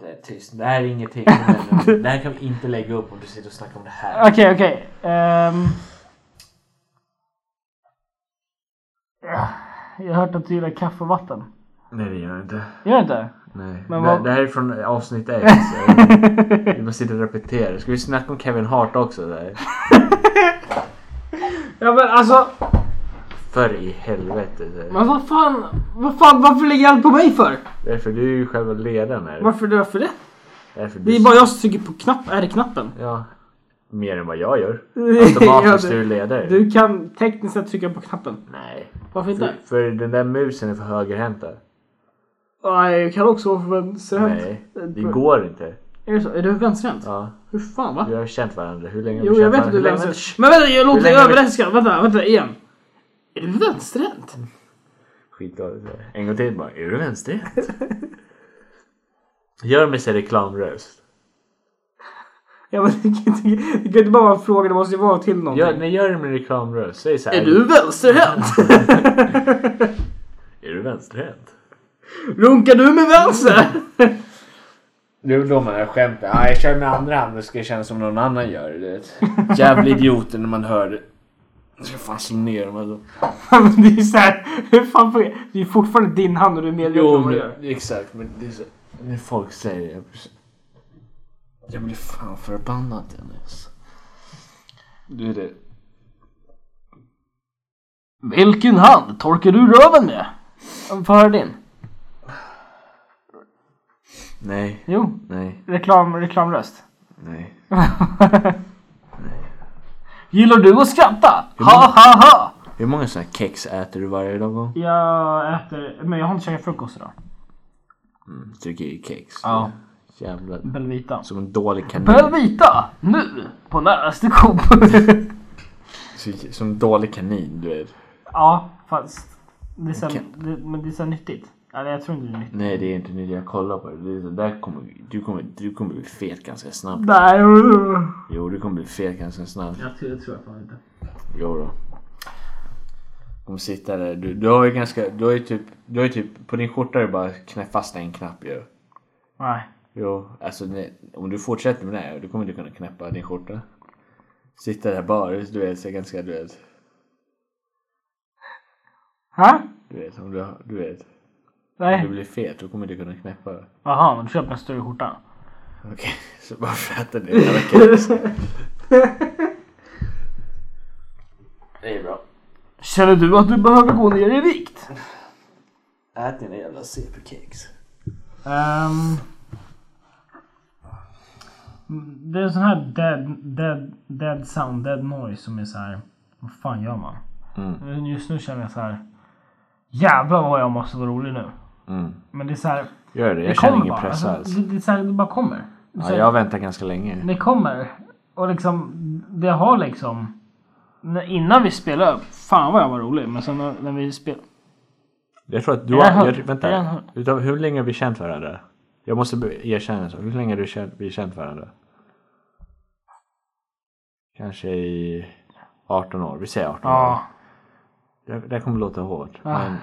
Det är Eh, tyst. Det här är ingenting. <laughs> Men Det här kan vi inte lägga upp om du sitter och snackar om det här. Okej, okej. Ehm. Ah, jag har hört att du gillar kaffe och vatten. Nej, det gör jag inte. Gör du inte? Nej. Men det, vad- det här är från avsnitt ett. <laughs> så- Vi bara sitter och repeterar. Ska vi snacka om Kevin Hart också? Där? Ja men alltså, För i helvete. så- men vad fan, vad fan, varför lägger allt på mig för? Därför du är ju själva ledaren här. Varför, varför det? Därför Det du... är bara jag som trycker på knapp, är det knappen? Ja. Mer än vad jag gör. <laughs> Ja, Automatiskt du- är du ledare. Du kan tekniskt sett trycka på knappen. Nej. Varför inte? För, för den där musen är för högerhänta. Nej, jag kan också vara för vänsterhänt. Nej. Det går inte. Är det så? Är du vänsterhänt? Ja. Hur fan va? Vi har känt varandra. Hur länge har Jo, vi jag känt vet att du varandra? är Hur länge- vänsterhänt. Men vänta, jag låter länge har vi- överraskad. Vänta, vänta igen. Är du vänsterhänt? Skitdåligt. En gång till bara. Är du vänsterhänt? <laughs> Gör mig så reklamröst. Ja, men det kan inte- det kan inte bara vara en fråga, det måste ju vara till någonting. Gör, nej, gör det med reklamröst. Säg så här. Är du vänsterhänt? Är du vänsterhänt? Runkar du med vänster? Det är väl då man har skämt. Ja, jag kör med andra handen ska det kännas som någon annan gör det. du vet. Jävla idioter när man hör det. Jag ska fan slå ner dem. Alltså. Men det är ju såhär, hur fan fungerar det? Det är fortfarande din hand och du är medveten Jo, om vad du gör. men, exakt. Men det är så, när folk säger det. jag blir- Jag blir fan förbannad Dennis. Du är det. Vilken hand torkar du röven med? Få höra din. Nej. Jo, Nej. reklam, reklamröst. Nej. Gillar du att skratta? Ha ha ha! Hur många såna här kex äter du varje dag? Jag äter, men jag har inte käkat frukost idag. Mm, tycker ju kex. Ja. Jävlar. Belvita. Som en dålig kanin. Belvita! Nu! På näraste Coop. Så- Som en dålig kanin, du vet. <laughs> ja, fast det är så, här- Okej. det, men det är så här nyttigt. Eller jag tror inte det är nyttigt. Nej, det är inte nytt. Jag kollar på det. det är så där kommer, du, kommer, du kommer bli fet ganska snabbt. Nej, Jo, du kommer bli fet ganska snabbt. jag tror, jag tror jag fan inte. Jo då. Kommer sitta där. Du, du har ju ganska... Du har ju typ... Du har ju typ på din skjorta är det bara knä, fast en knapp ju. Nej. Jo, alltså det- om du fortsätter med det här, då kommer du kunna knäppa din skjorta. Sitta där bara, du vet, så är ganska, du vet. Ha? Du vet, om du, du vet. Om du Nej. blir fet, då kommer du kunna knäppa. Jaha, men du köper en större skjorta. Okej, <laughs> så varför äter ni hela kex? Det är bra. Känner du att du behöver gå ner i vikt? Ät dina jävla CP-kex. Ehm. det är en sån här dead, dead, dead sound, dead noise som är så här. Vad fan gör man? Mm. Men Just nu känner jag så här. Jävlar vad jag måste vara rolig nu. Mm. Men det är så här. Gör det, det jag känner kommer ingen bara. Alltså, Mm. press alls. det, det, är så här, det bara kommer. Det, är så Ja, här, jag väntar ganska länge. det kommer. Och liksom, det har liksom. när- Innan vi spelade, fan vad jag var rolig. Men sen när, när vi spelade. Jag tror att du Är jag har... hör- Jag, är jag vänta. hör- Utav, hur länge har vi känt varandra? Jag måste be- erkänna en sak. Hur länge har du känt, vi känt varandra? Kanske i 18 år. Vi säger 18 år. Ja. Ah. Det, det här kommer låta hårt. Men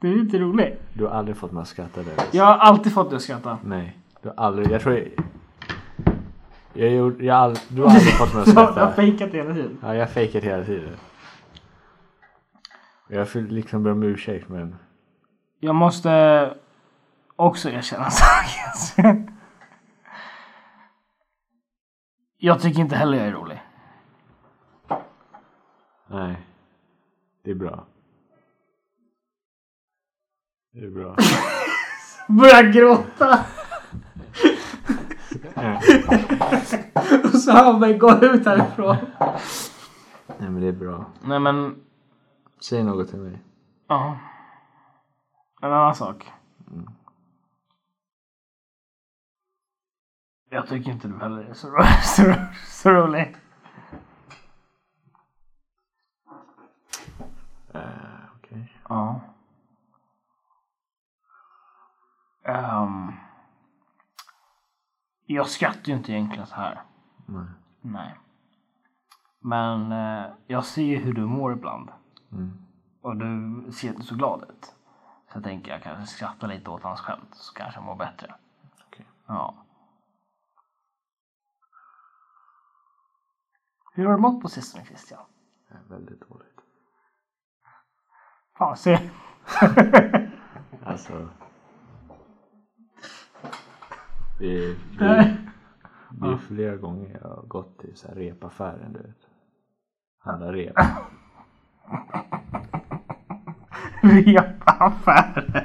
Det är inte roligt. du har aldrig fått mig att skratta där. Jag har alltid fått dig att skratta. Nej. Du har aldrig... Jag tror... Jag, jag, gjorde- jag, har ald- du har aldrig fått <laughs> mig att Jag har skratta. fejkat det hela tiden. Ja, jag fejkar hela tiden. Och Jag får liksom be om ursäkt men... Jag måste också erkänna en sak. Jag tycker inte heller jag är rolig. Nej. Det är bra. Det är bra. Börjar gråta. Och så hör mig gå ut härifrån. Nej men det är bra. Nej men, Säg något till mig. ja. En annan sak. Jag tycker inte du heller är så, ro- <laughs> så, ro- så rolig. Okej. Ja. Ehm, jag skrattar ju inte egentligen så här. Nej. Nej. Men eh, jag ser ju hur du mår ibland. Mm. Och du ser inte så glad ut. Så jag tänker jag kanske skrattar lite åt hans skämt så kanske jag mår bättre. Okej. Ja. Hur har du mått på sistone Christian? Det är väldigt dåligt. Fan, se. <laughs> Alltså... <laughs> Det blir, blir flera gånger jag har gått till så här repaffären, du vet. Handla rep. Repaffären.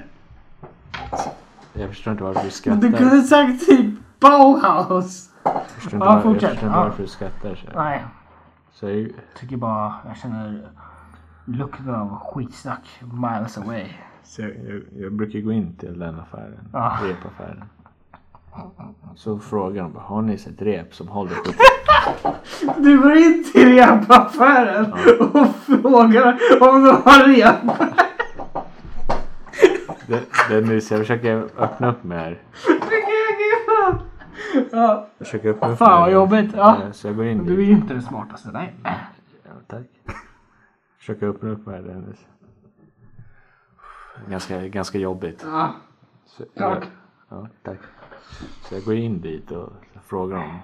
Jag förstår inte varför du Du skrattar. kunde sagt typ Bauhaus. Jag förstår inte, Ja, var, jag fortsätt. förstår inte Ja. varför du skrattar. Så här. Nej, Så jag, tycker bara jag känner lukten av skitsnack miles away. så jag, jag, jag brukar gå in till den affären, Ja. repaffären. Så frågar de bara, har ni sett rep som håller <laughs> upp? Du går in till repaffären och frågar om de har rep. Det, det är nu så jag försöker öppna upp mig här. Ja, Jag försöker öppna upp Fan, mig. vad jobbigt, ja. Eh, Så jag går in Du är dit. ju inte den smartaste. Nej. Ja, tack. Försöker öppna upp mig här Dennis. Ganska, ganska jobbigt. ja. Så, Tack. Ja, tack. Så jag går in dit och frågar dem.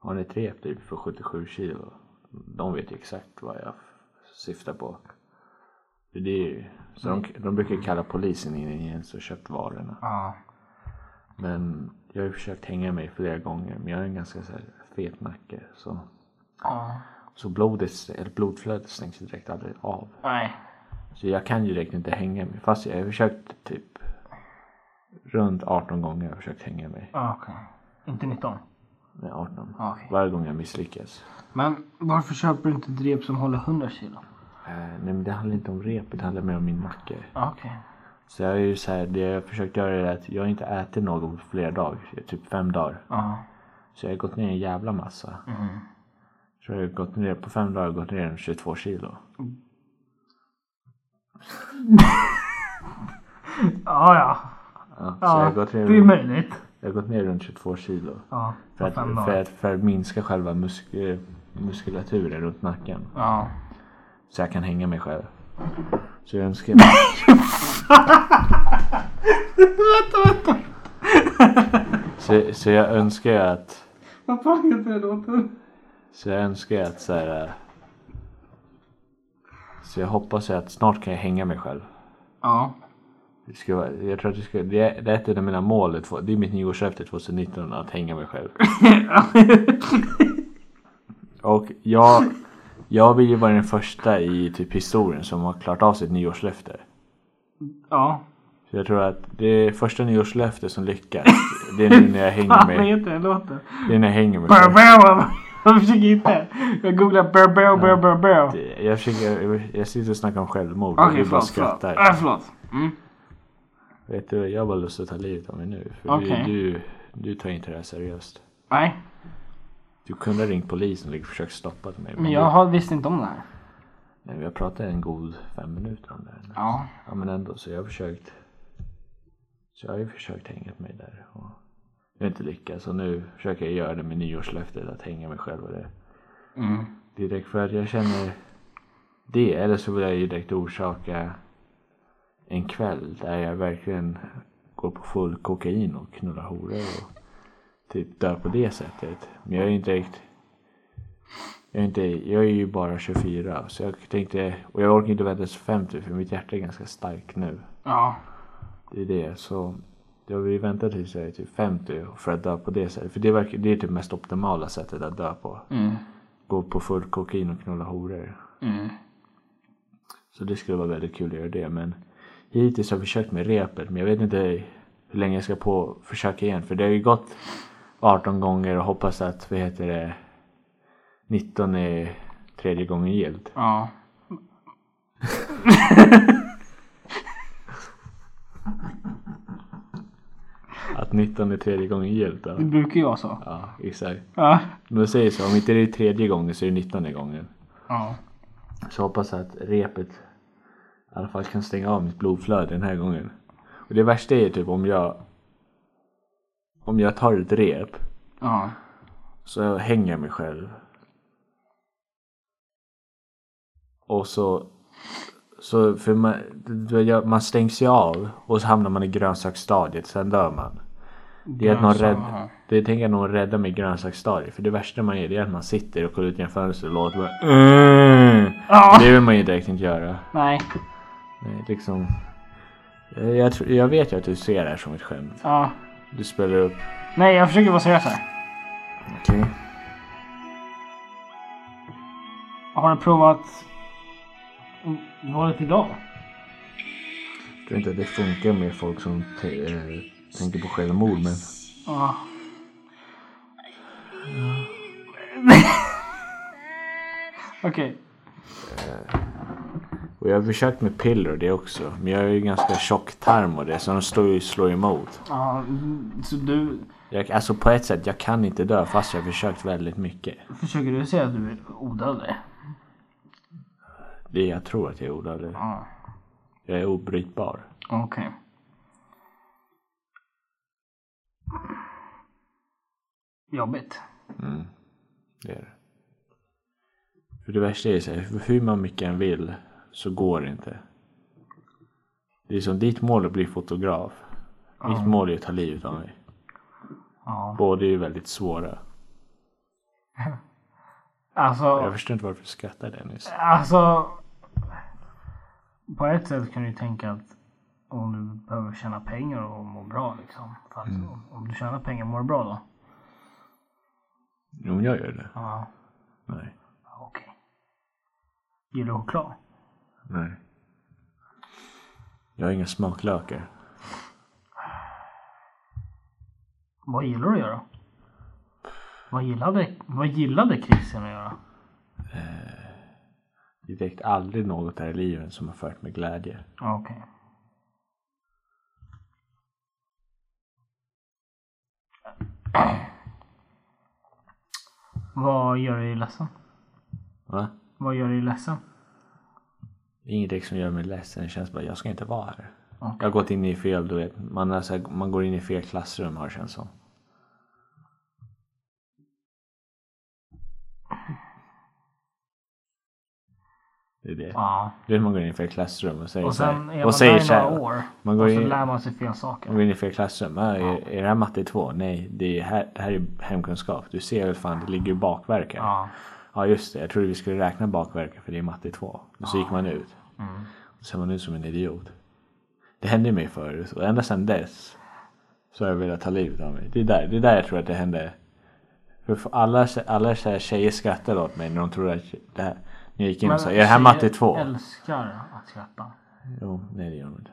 Har ni ett rep typ för 77 kilo? De vet ju exakt vad jag syftar på. För Det är ju, så de, de brukar kalla polisen in igen och köpt varorna. Ja. Men jag har ju försökt hänga mig flera gånger men jag har en ganska så här fet nacke. Så, ja. så blodet, eller blodflödet stängs ju direkt aldrig av. Nej. Så jag kan ju direkt inte hänga mig. Fast jag har försökt typ runt 18 gånger har jag försökt hänga mig. Ja, Okej. Inte 19. Nej, 18. Ja, okej. Varje gång jag misslyckas. Men varför köper du inte ett rep som håller 100 kilo? Eh, nej men det handlar inte om repet, det handlar mer om min nacke. Ja, Okej. Så jag är ju så här, det jag har försökt göra är att jag har inte ätit något på flera dagar. Typ fem dagar. Ja. Så jag har gått ner en jävla massa. Mm-hmm. Så jag har gått ner, på fem dagar har jag gått ner 22 kilo. Ja, ja. Ja, så jag, ja har gått det är ner, möjligt. jag har gått ner runt 22 kilo. Ja, För på att, fem för, dagar. att, för att minska själva musk, eh, muskulaturen runt nacken. Ja. Så jag kan hänga mig själv. Så jag önskar mig... så, så jag önskar ju att... Vad fan heter den låten? Så jag önskar ju att så här... eh, Så jag hoppas ju att snart kan jag hänga mig själv. Ja. Det ska vara, jag tror att det, ska, det, är, det är ett av mina mål. det två- Det är mitt nyårslöfte 2019 att hänga <laughs> mig själv. Och jag, jag vill ju vara den första i typ historien som har klarat av sitt nyårslöfte. Ja. Så jag tror att det första nyårslöfte som lyckas, det är nu när jag hänger Fan, <laughs> vad mig. heter den låten? Det är när jag hänger mig Burr, själv. burr. Jag försöker hitta. Jag googlar burr, burr, burr, burr, burr. Okej, Det- Jag, försöker, jag- jag sitter och snackar om självmord och du bara förlåt. Förlåt. skrattar. Äh, förlåt. Vet du, jag har bara lust att ta livet av mig nu. För Okej. du, du, du tar inte det här seriöst. Nej, Du kunde ha ringt polisen och försökt stoppa mig. men jag har- visste inte om det här. Nej, vi har pratat en god fem minuter om det här. nu. Ja. Ja men ändå, så jag har försökt. Så jag har ju försökt hänga mig där. Och jag har inte lyckats och nu försöker jag göra det med nyårslöftet att hänga mig själv och det. Mm. Direkt för att jag känner det. Eller så vill jag ju direkt orsaka en kväll där jag verkligen går på full kokain och knullar horor och typ dör på det sättet. Men jag är ju inte direkt jag är, inte, jag är ju bara 24 så jag tänkte, och jag orkar inte vänta till 50 för mitt hjärta är ganska starkt nu. Ja. Det är det. Så jag vill vänta tills jag är typ 50 för att dö på det sättet. För det, verkar, det är typ mest optimala sättet att dö på. Mm. Gå på full kokain och knulla horor. Mm. Så det skulle vara väldigt kul att göra det. Men hittills har jag försökt med repet. Men jag vet inte hur länge jag ska på försöka igen. För det har ju gått 18 gånger och hoppas att, vad heter det, 19 är tredje gången gillt. Ja. Att 19 är tredje gången gillt. Det brukar ju vara så. Ja, exakt. Ja. De säger så, om inte det är tredje gången så är det 19 gången. Ja. Så hoppas jag att repet i alla fall kan stänga av mitt blodflöde den här gången. Och det värsta är typ om jag om jag tar ett rep ja. så hänger jag mig själv. Och så, så för man, du vet, jag- man stängs ju av och så hamnar man i grönsaksstadiet, sen dör man. Det är att någon rädd, Grönsak, det är tänker att någon räddar mig i grönsaksstadiet. För det värsta man gör det är att man sitter och kollar ut genom fönstret och låter bara "Mm." Ja. Det vill man ju direkt inte göra. Nej. Nej, liksom. Jag, jag, tror- jag vet ju att du ser det här som ett skämt. Ja. Du spelar upp. Nej, jag försöker vara seriös här. Okej. Har du provat valet idag? Jag tror inte att det funkar med folk som te- eh, tänker på självmord men... Ja. <laughs> Okej. Och jag har försökt med piller och det också. Men jag har ju ganska tjock tarm och det så de står ju, slår ju emot. Ja, så du Jag, alltså på ett sätt, jag kan inte dö fast jag har försökt väldigt mycket. försöker du säga att du är odödlig? Det är- jag tror att jag är odödlig. Ja. Jag är obrytbar. Okej. Jobbigt. Mm. Det är det. För det värsta är så här, hur man mycket än vill så går det inte. Det är som ditt mål är att bli fotograf. Mitt mål är att ta livet av mig. Ja. Båda är ju väldigt svåra. Jag Alltså, förstår inte varför du skrattade nyss. alltså. På ett sätt kan du ju tänka att om du behöver tjäna pengar och må bra liksom. För att om- om du tjänar pengar mår du bra då? Jo, men jag gör det. Ja. Nej. Okej. Gillar du choklad? Nej. Jag har inga smaklökar. Vad gillar du att göra? Vad gillade, vad gillade Christian att göra? Det är direkt aldrig något här i livet som har fört mig glädje. Ja, Okej. Vad gör dig ledsen? Va? Vad gör dig ledsen? Det är ingenting som gör mig ledsen. Det känns bara, jag ska inte vara här. Jag har gått in i fel, du vet. Man, är så här, man går in i fel klassrum har det känts som. Det är det. Ja. Du vet, man går in i fel klassrum och säger Och så sen här- är man och säger där i så här- några år Man går Mm. och så in- lär man sig fel man saker. går in i fel klassrum. Ja, är, är det här matte 2? Nej, det är här, det här är hemkunskap. Du ser väl fan, det ligger ju bakverk här. Ja. Ja just det, jag trodde vi skulle räkna bakverken för det är matte 2. Och så gick man ut. Och så är man ut som en idiot. Det hände ju mig förut och ända sedan dess så har jag velat ta livet av mig. Det är där, det är där jag tror att det hände. För för alla, alla så här tjejer skrattade åt mig när de trodde att det här, när jag gick in och sa är det här matte 2? Jag älskar att skratta. Jo, nej det gör de inte.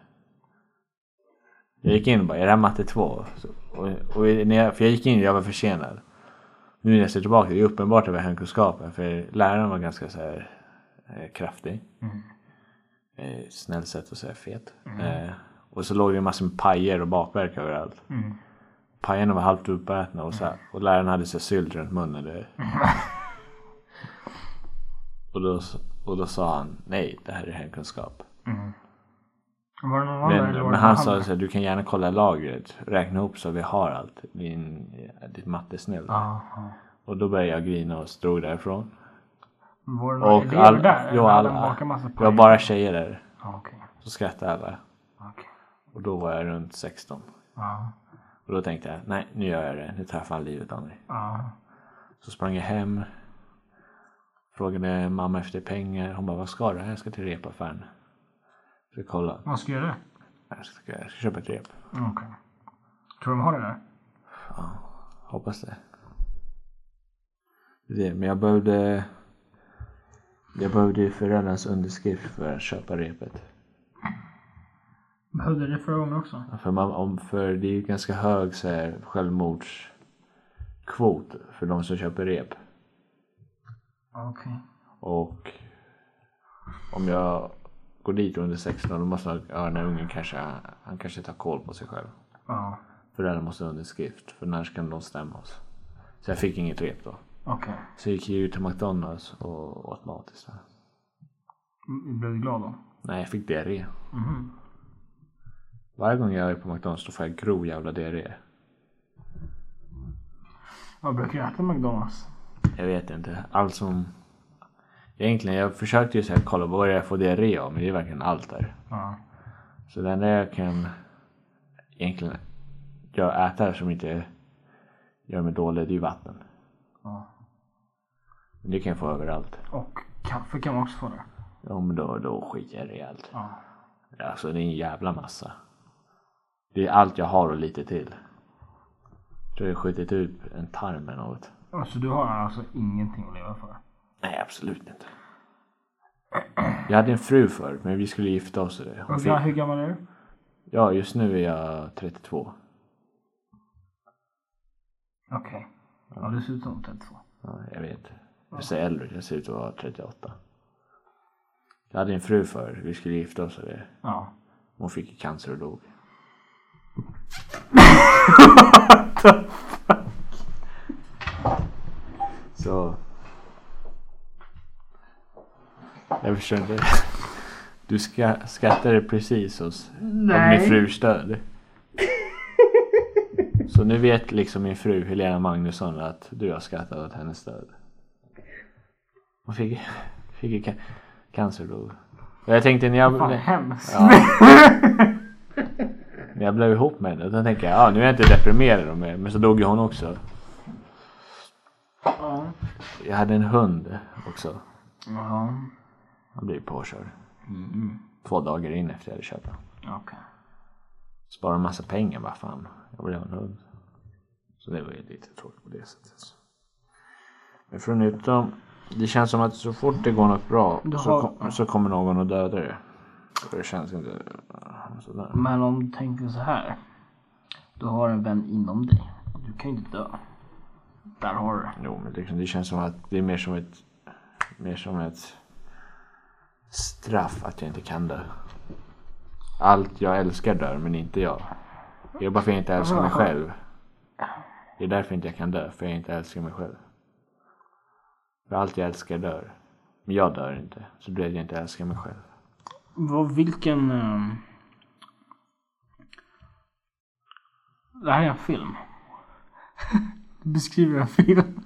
Jag gick in och bara, är det här matte 2? Så- Och, och när jag, för jag gick in, jag var försenad. Nu när jag ser tillbaka, det är uppenbart att det var hemkunskapen. För läraren var ganska så här eh, kraftig. Eh, snällt sätt att säga fet. Eh, och så låg det massor med pajer och bakverk överallt. Mm. Pajerna var halvt uppätna och, så här, och läraren hade så här sylt runt munnen. Du. vet. och, då, s- och då sa han, nej det här är hemkunskap. Var det någon annan Men, eller var men det han någon sa annan? så här, du kan gärna kolla lagret, räkna ihop så vi har allt. Din, ditt mattesnäll. Ja, ja. Och då började jag grina och drog därifrån. Var det någon Och elever där? jo, Eller hade alla, de bakat massa det var paj? bara tjejer där. Ja, Okej. Så skrattade alla. Okej. Och då var jag runt 16. Ja. Och då tänkte jag, nej nu gör jag det. Nu tar jag fan livet av mig. Ja. Så sprang jag hem. Frågade mamma efter pengar. Hon bara, vad ska du? Jag ska till repaffären. Så kolla. Vad ska jag göra? Mm, Jag ska, jag ska köpa ett rep. Okej. Tror du de har det där? Hoppas det. det. Men jag behövde... Jag behövde ju föräldrarnas underskrift för att köpa repet. Behövde det förra gången också? För, man, om, för det är ju ganska hög så här, självmordskvot för de som köper rep. Okej. Och om jag går dit under 16 då måste jag, ja, den här ungen kanske, han kanske tar koll på sig själv. Ja. För Föräldrar måste ha underskrift för annars kan de stämma oss. Så jag fick inget rep då. Okej. Så gick jag ut till McDonalds och åt mat istället. Mm, Blev du glad då? Nej, jag fick diarré. Varje gång jag är på McDonalds då får jag grov jävla diarré. Jag brukar äta McDonalds. Jag vet inte. Allt som... Egentligen, jag försökte ju så här, kolla vad jag får diarré av, men det är verkligen allt där. Ja. Så det enda jag kan egentligen jag äter som inte gör mig dålig, det är ju vatten. Ja. Men det kan jag få överallt. Och kaffe kan man också få det. Ja, men då, då skiter jag rejält. Ja. Alltså det är en jävla massa. Det är allt jag har och lite till. Jag tror jag har skjutit ut en tarm eller något. Alltså du har alltså ingenting att leva för. Nej, absolut inte. Jag hade en fru förut, men vi skulle gifta oss. Och det. Hon fick... Hur, hur gammal är du? Ja, just nu är jag 32. Okej. Ja, du ser ut som 32. Ja, jag vet. Jag ser äldre ut. Jag ser ut att vara 38. Jag hade en fru förut. Vi skulle gifta oss och det. Ja. Hon fick ju cancer och dog. <laughs> Så... Jag förstår inte. Du ska, skattade precis hos av min frus död. Så nu vet liksom min fru Helena Magnusson att du har skattat åt hennes död. Hon fick, fick ju ca- cancer då. Och jag tänkte när Fan, jag... hemskt. Ja. När jag blev ihop med henne, då tänkte jag ah, nu är jag inte deprimerad mer. Men så dog ju hon också. Ja. Jag hade en hund också. Ja. Han blev påkörd. Mm. Två dagar in efter jag hade köpt honom. Okej. Sparade en massa pengar bara fan. Jag vill ha en hund. Så det var ju lite tråkigt på det sättet. Men förutom, det känns som att så fort det går något bra Du så, har- kom, så kommer någon och dödar det. För det känns inte sådär. Men om du tänker så här. Du har en vän inom dig. Du kan ju inte dö. Där har du det. Jo, men liksom, det känns som att det är mer som ett, mer som ett straff att jag inte kan dö. Allt jag älskar dör, men inte jag. Det är bara för att jag inte älskar mig själv. Det är därför inte jag kan dö, för jag inte älskar mig själv. För allt jag älskar dör. Men jag dör inte, så det blir att jag inte älskar mig själv. Vad, vilken... ehm, Det här är en film. Du <laughs> beskriver en film.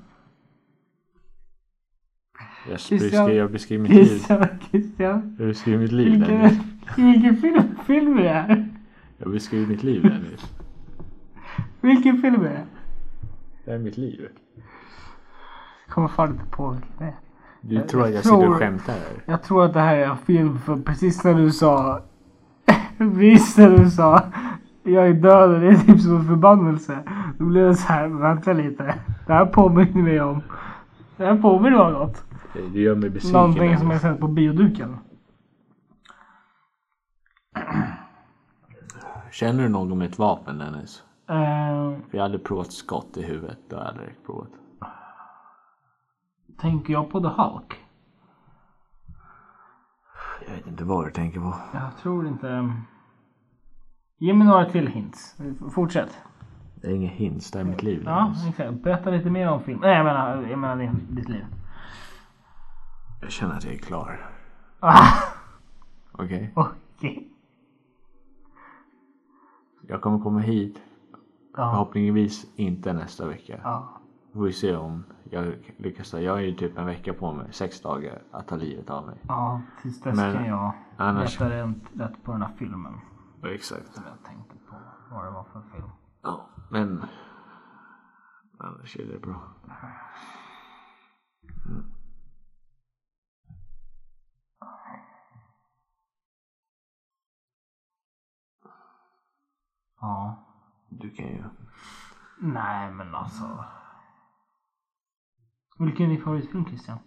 Jag Christian- beskriver, jag beskriver mitt liv. Christian, Christian. Jag beskriver mitt liv Vilken, Dennis. vilken film, film är det här? Jag beskriver mitt liv Dennis. Vilken film är det? Det här är mitt liv. Jag kommer fan inte på vilken det är. Du tror att jag sitter tror- och skämtar här. Jag tror att det här är en film för precis när du sa... <laughs> precis när du sa jag är död och det är typ som en förbannelse. Då blev det så här, vänta lite. Det här påminner mig om... Det här påminner mig om något. Det gör mig besviken. Någonting Dennis. som jag sett på bioduken. Känner du någon med ett vapen Dennis? Eh, För jag hade provat skott i huvudet. Det har jag aldrig provat. tänker jag på The Hulk? Jag vet inte vad du tänker på. Jag tror inte... Ge mig några till hints. Fortsätt. Det är inga hints. Det är mitt liv. Ja, Dennis. exakt. Berätta lite mer om filmen. Nej, jag menar, jag menar din- ditt liv. Jag känner att jag är klar. Ah, <laughs> Okej? okej. Jag kommer komma hit. Ja. Förhoppningsvis inte nästa vecka. ja. Vi får vi se om jag lyckas. Jag har ju typ en vecka på mig. Sex dagar att ta livet av mig. Ja, tills dess Men kan jag Annars... leta rent rätt på den här filmen. Exakt. Som jag tänkte på vad det var för film. Ja, men... Annars är det bra. Ja. Du kan ju... Nej men alltså. Vilken är din favoritfilm Christian?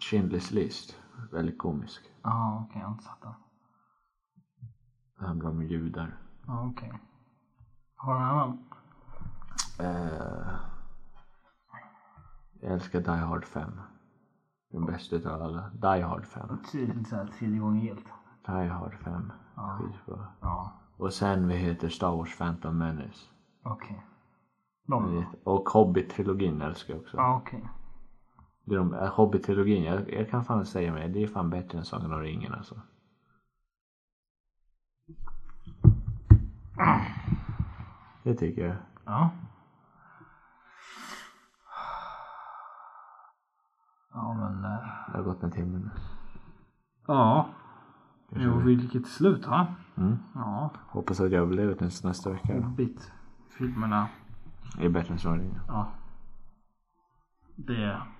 Schindler's list. Väldigt komisk. Ja okej, jag har inte sett den. Det handlar om judar. Ja okej. Har du en annan? Eh, jag älskar Die Hard 5. Den bästa utav alla. Die Hard 5. Tydligt såhär tredje gången gillt. Die Hard 5. Skitbra. Ja. Och sen vi heter Star Wars Phantom Menace. Okej. Jag De? vet. Och Hobbit-trilogin älskar jag också. Ja, okej. Det är de, äh, Hobbit-trilogin, jag, jag kan fan säga mig, det är fan bättre än Sagan om ringen alltså. Det tycker jag. Ja. Ja, men... eh, Det har gått en timme nu. Ja. Jo, vilket slut, va? Mm. Ja, Hoppas att jag överlever tills nästa Mm. vecka. Hobbit. Filmerna. Det är bättre än Sagan om ringen. Ja. Det...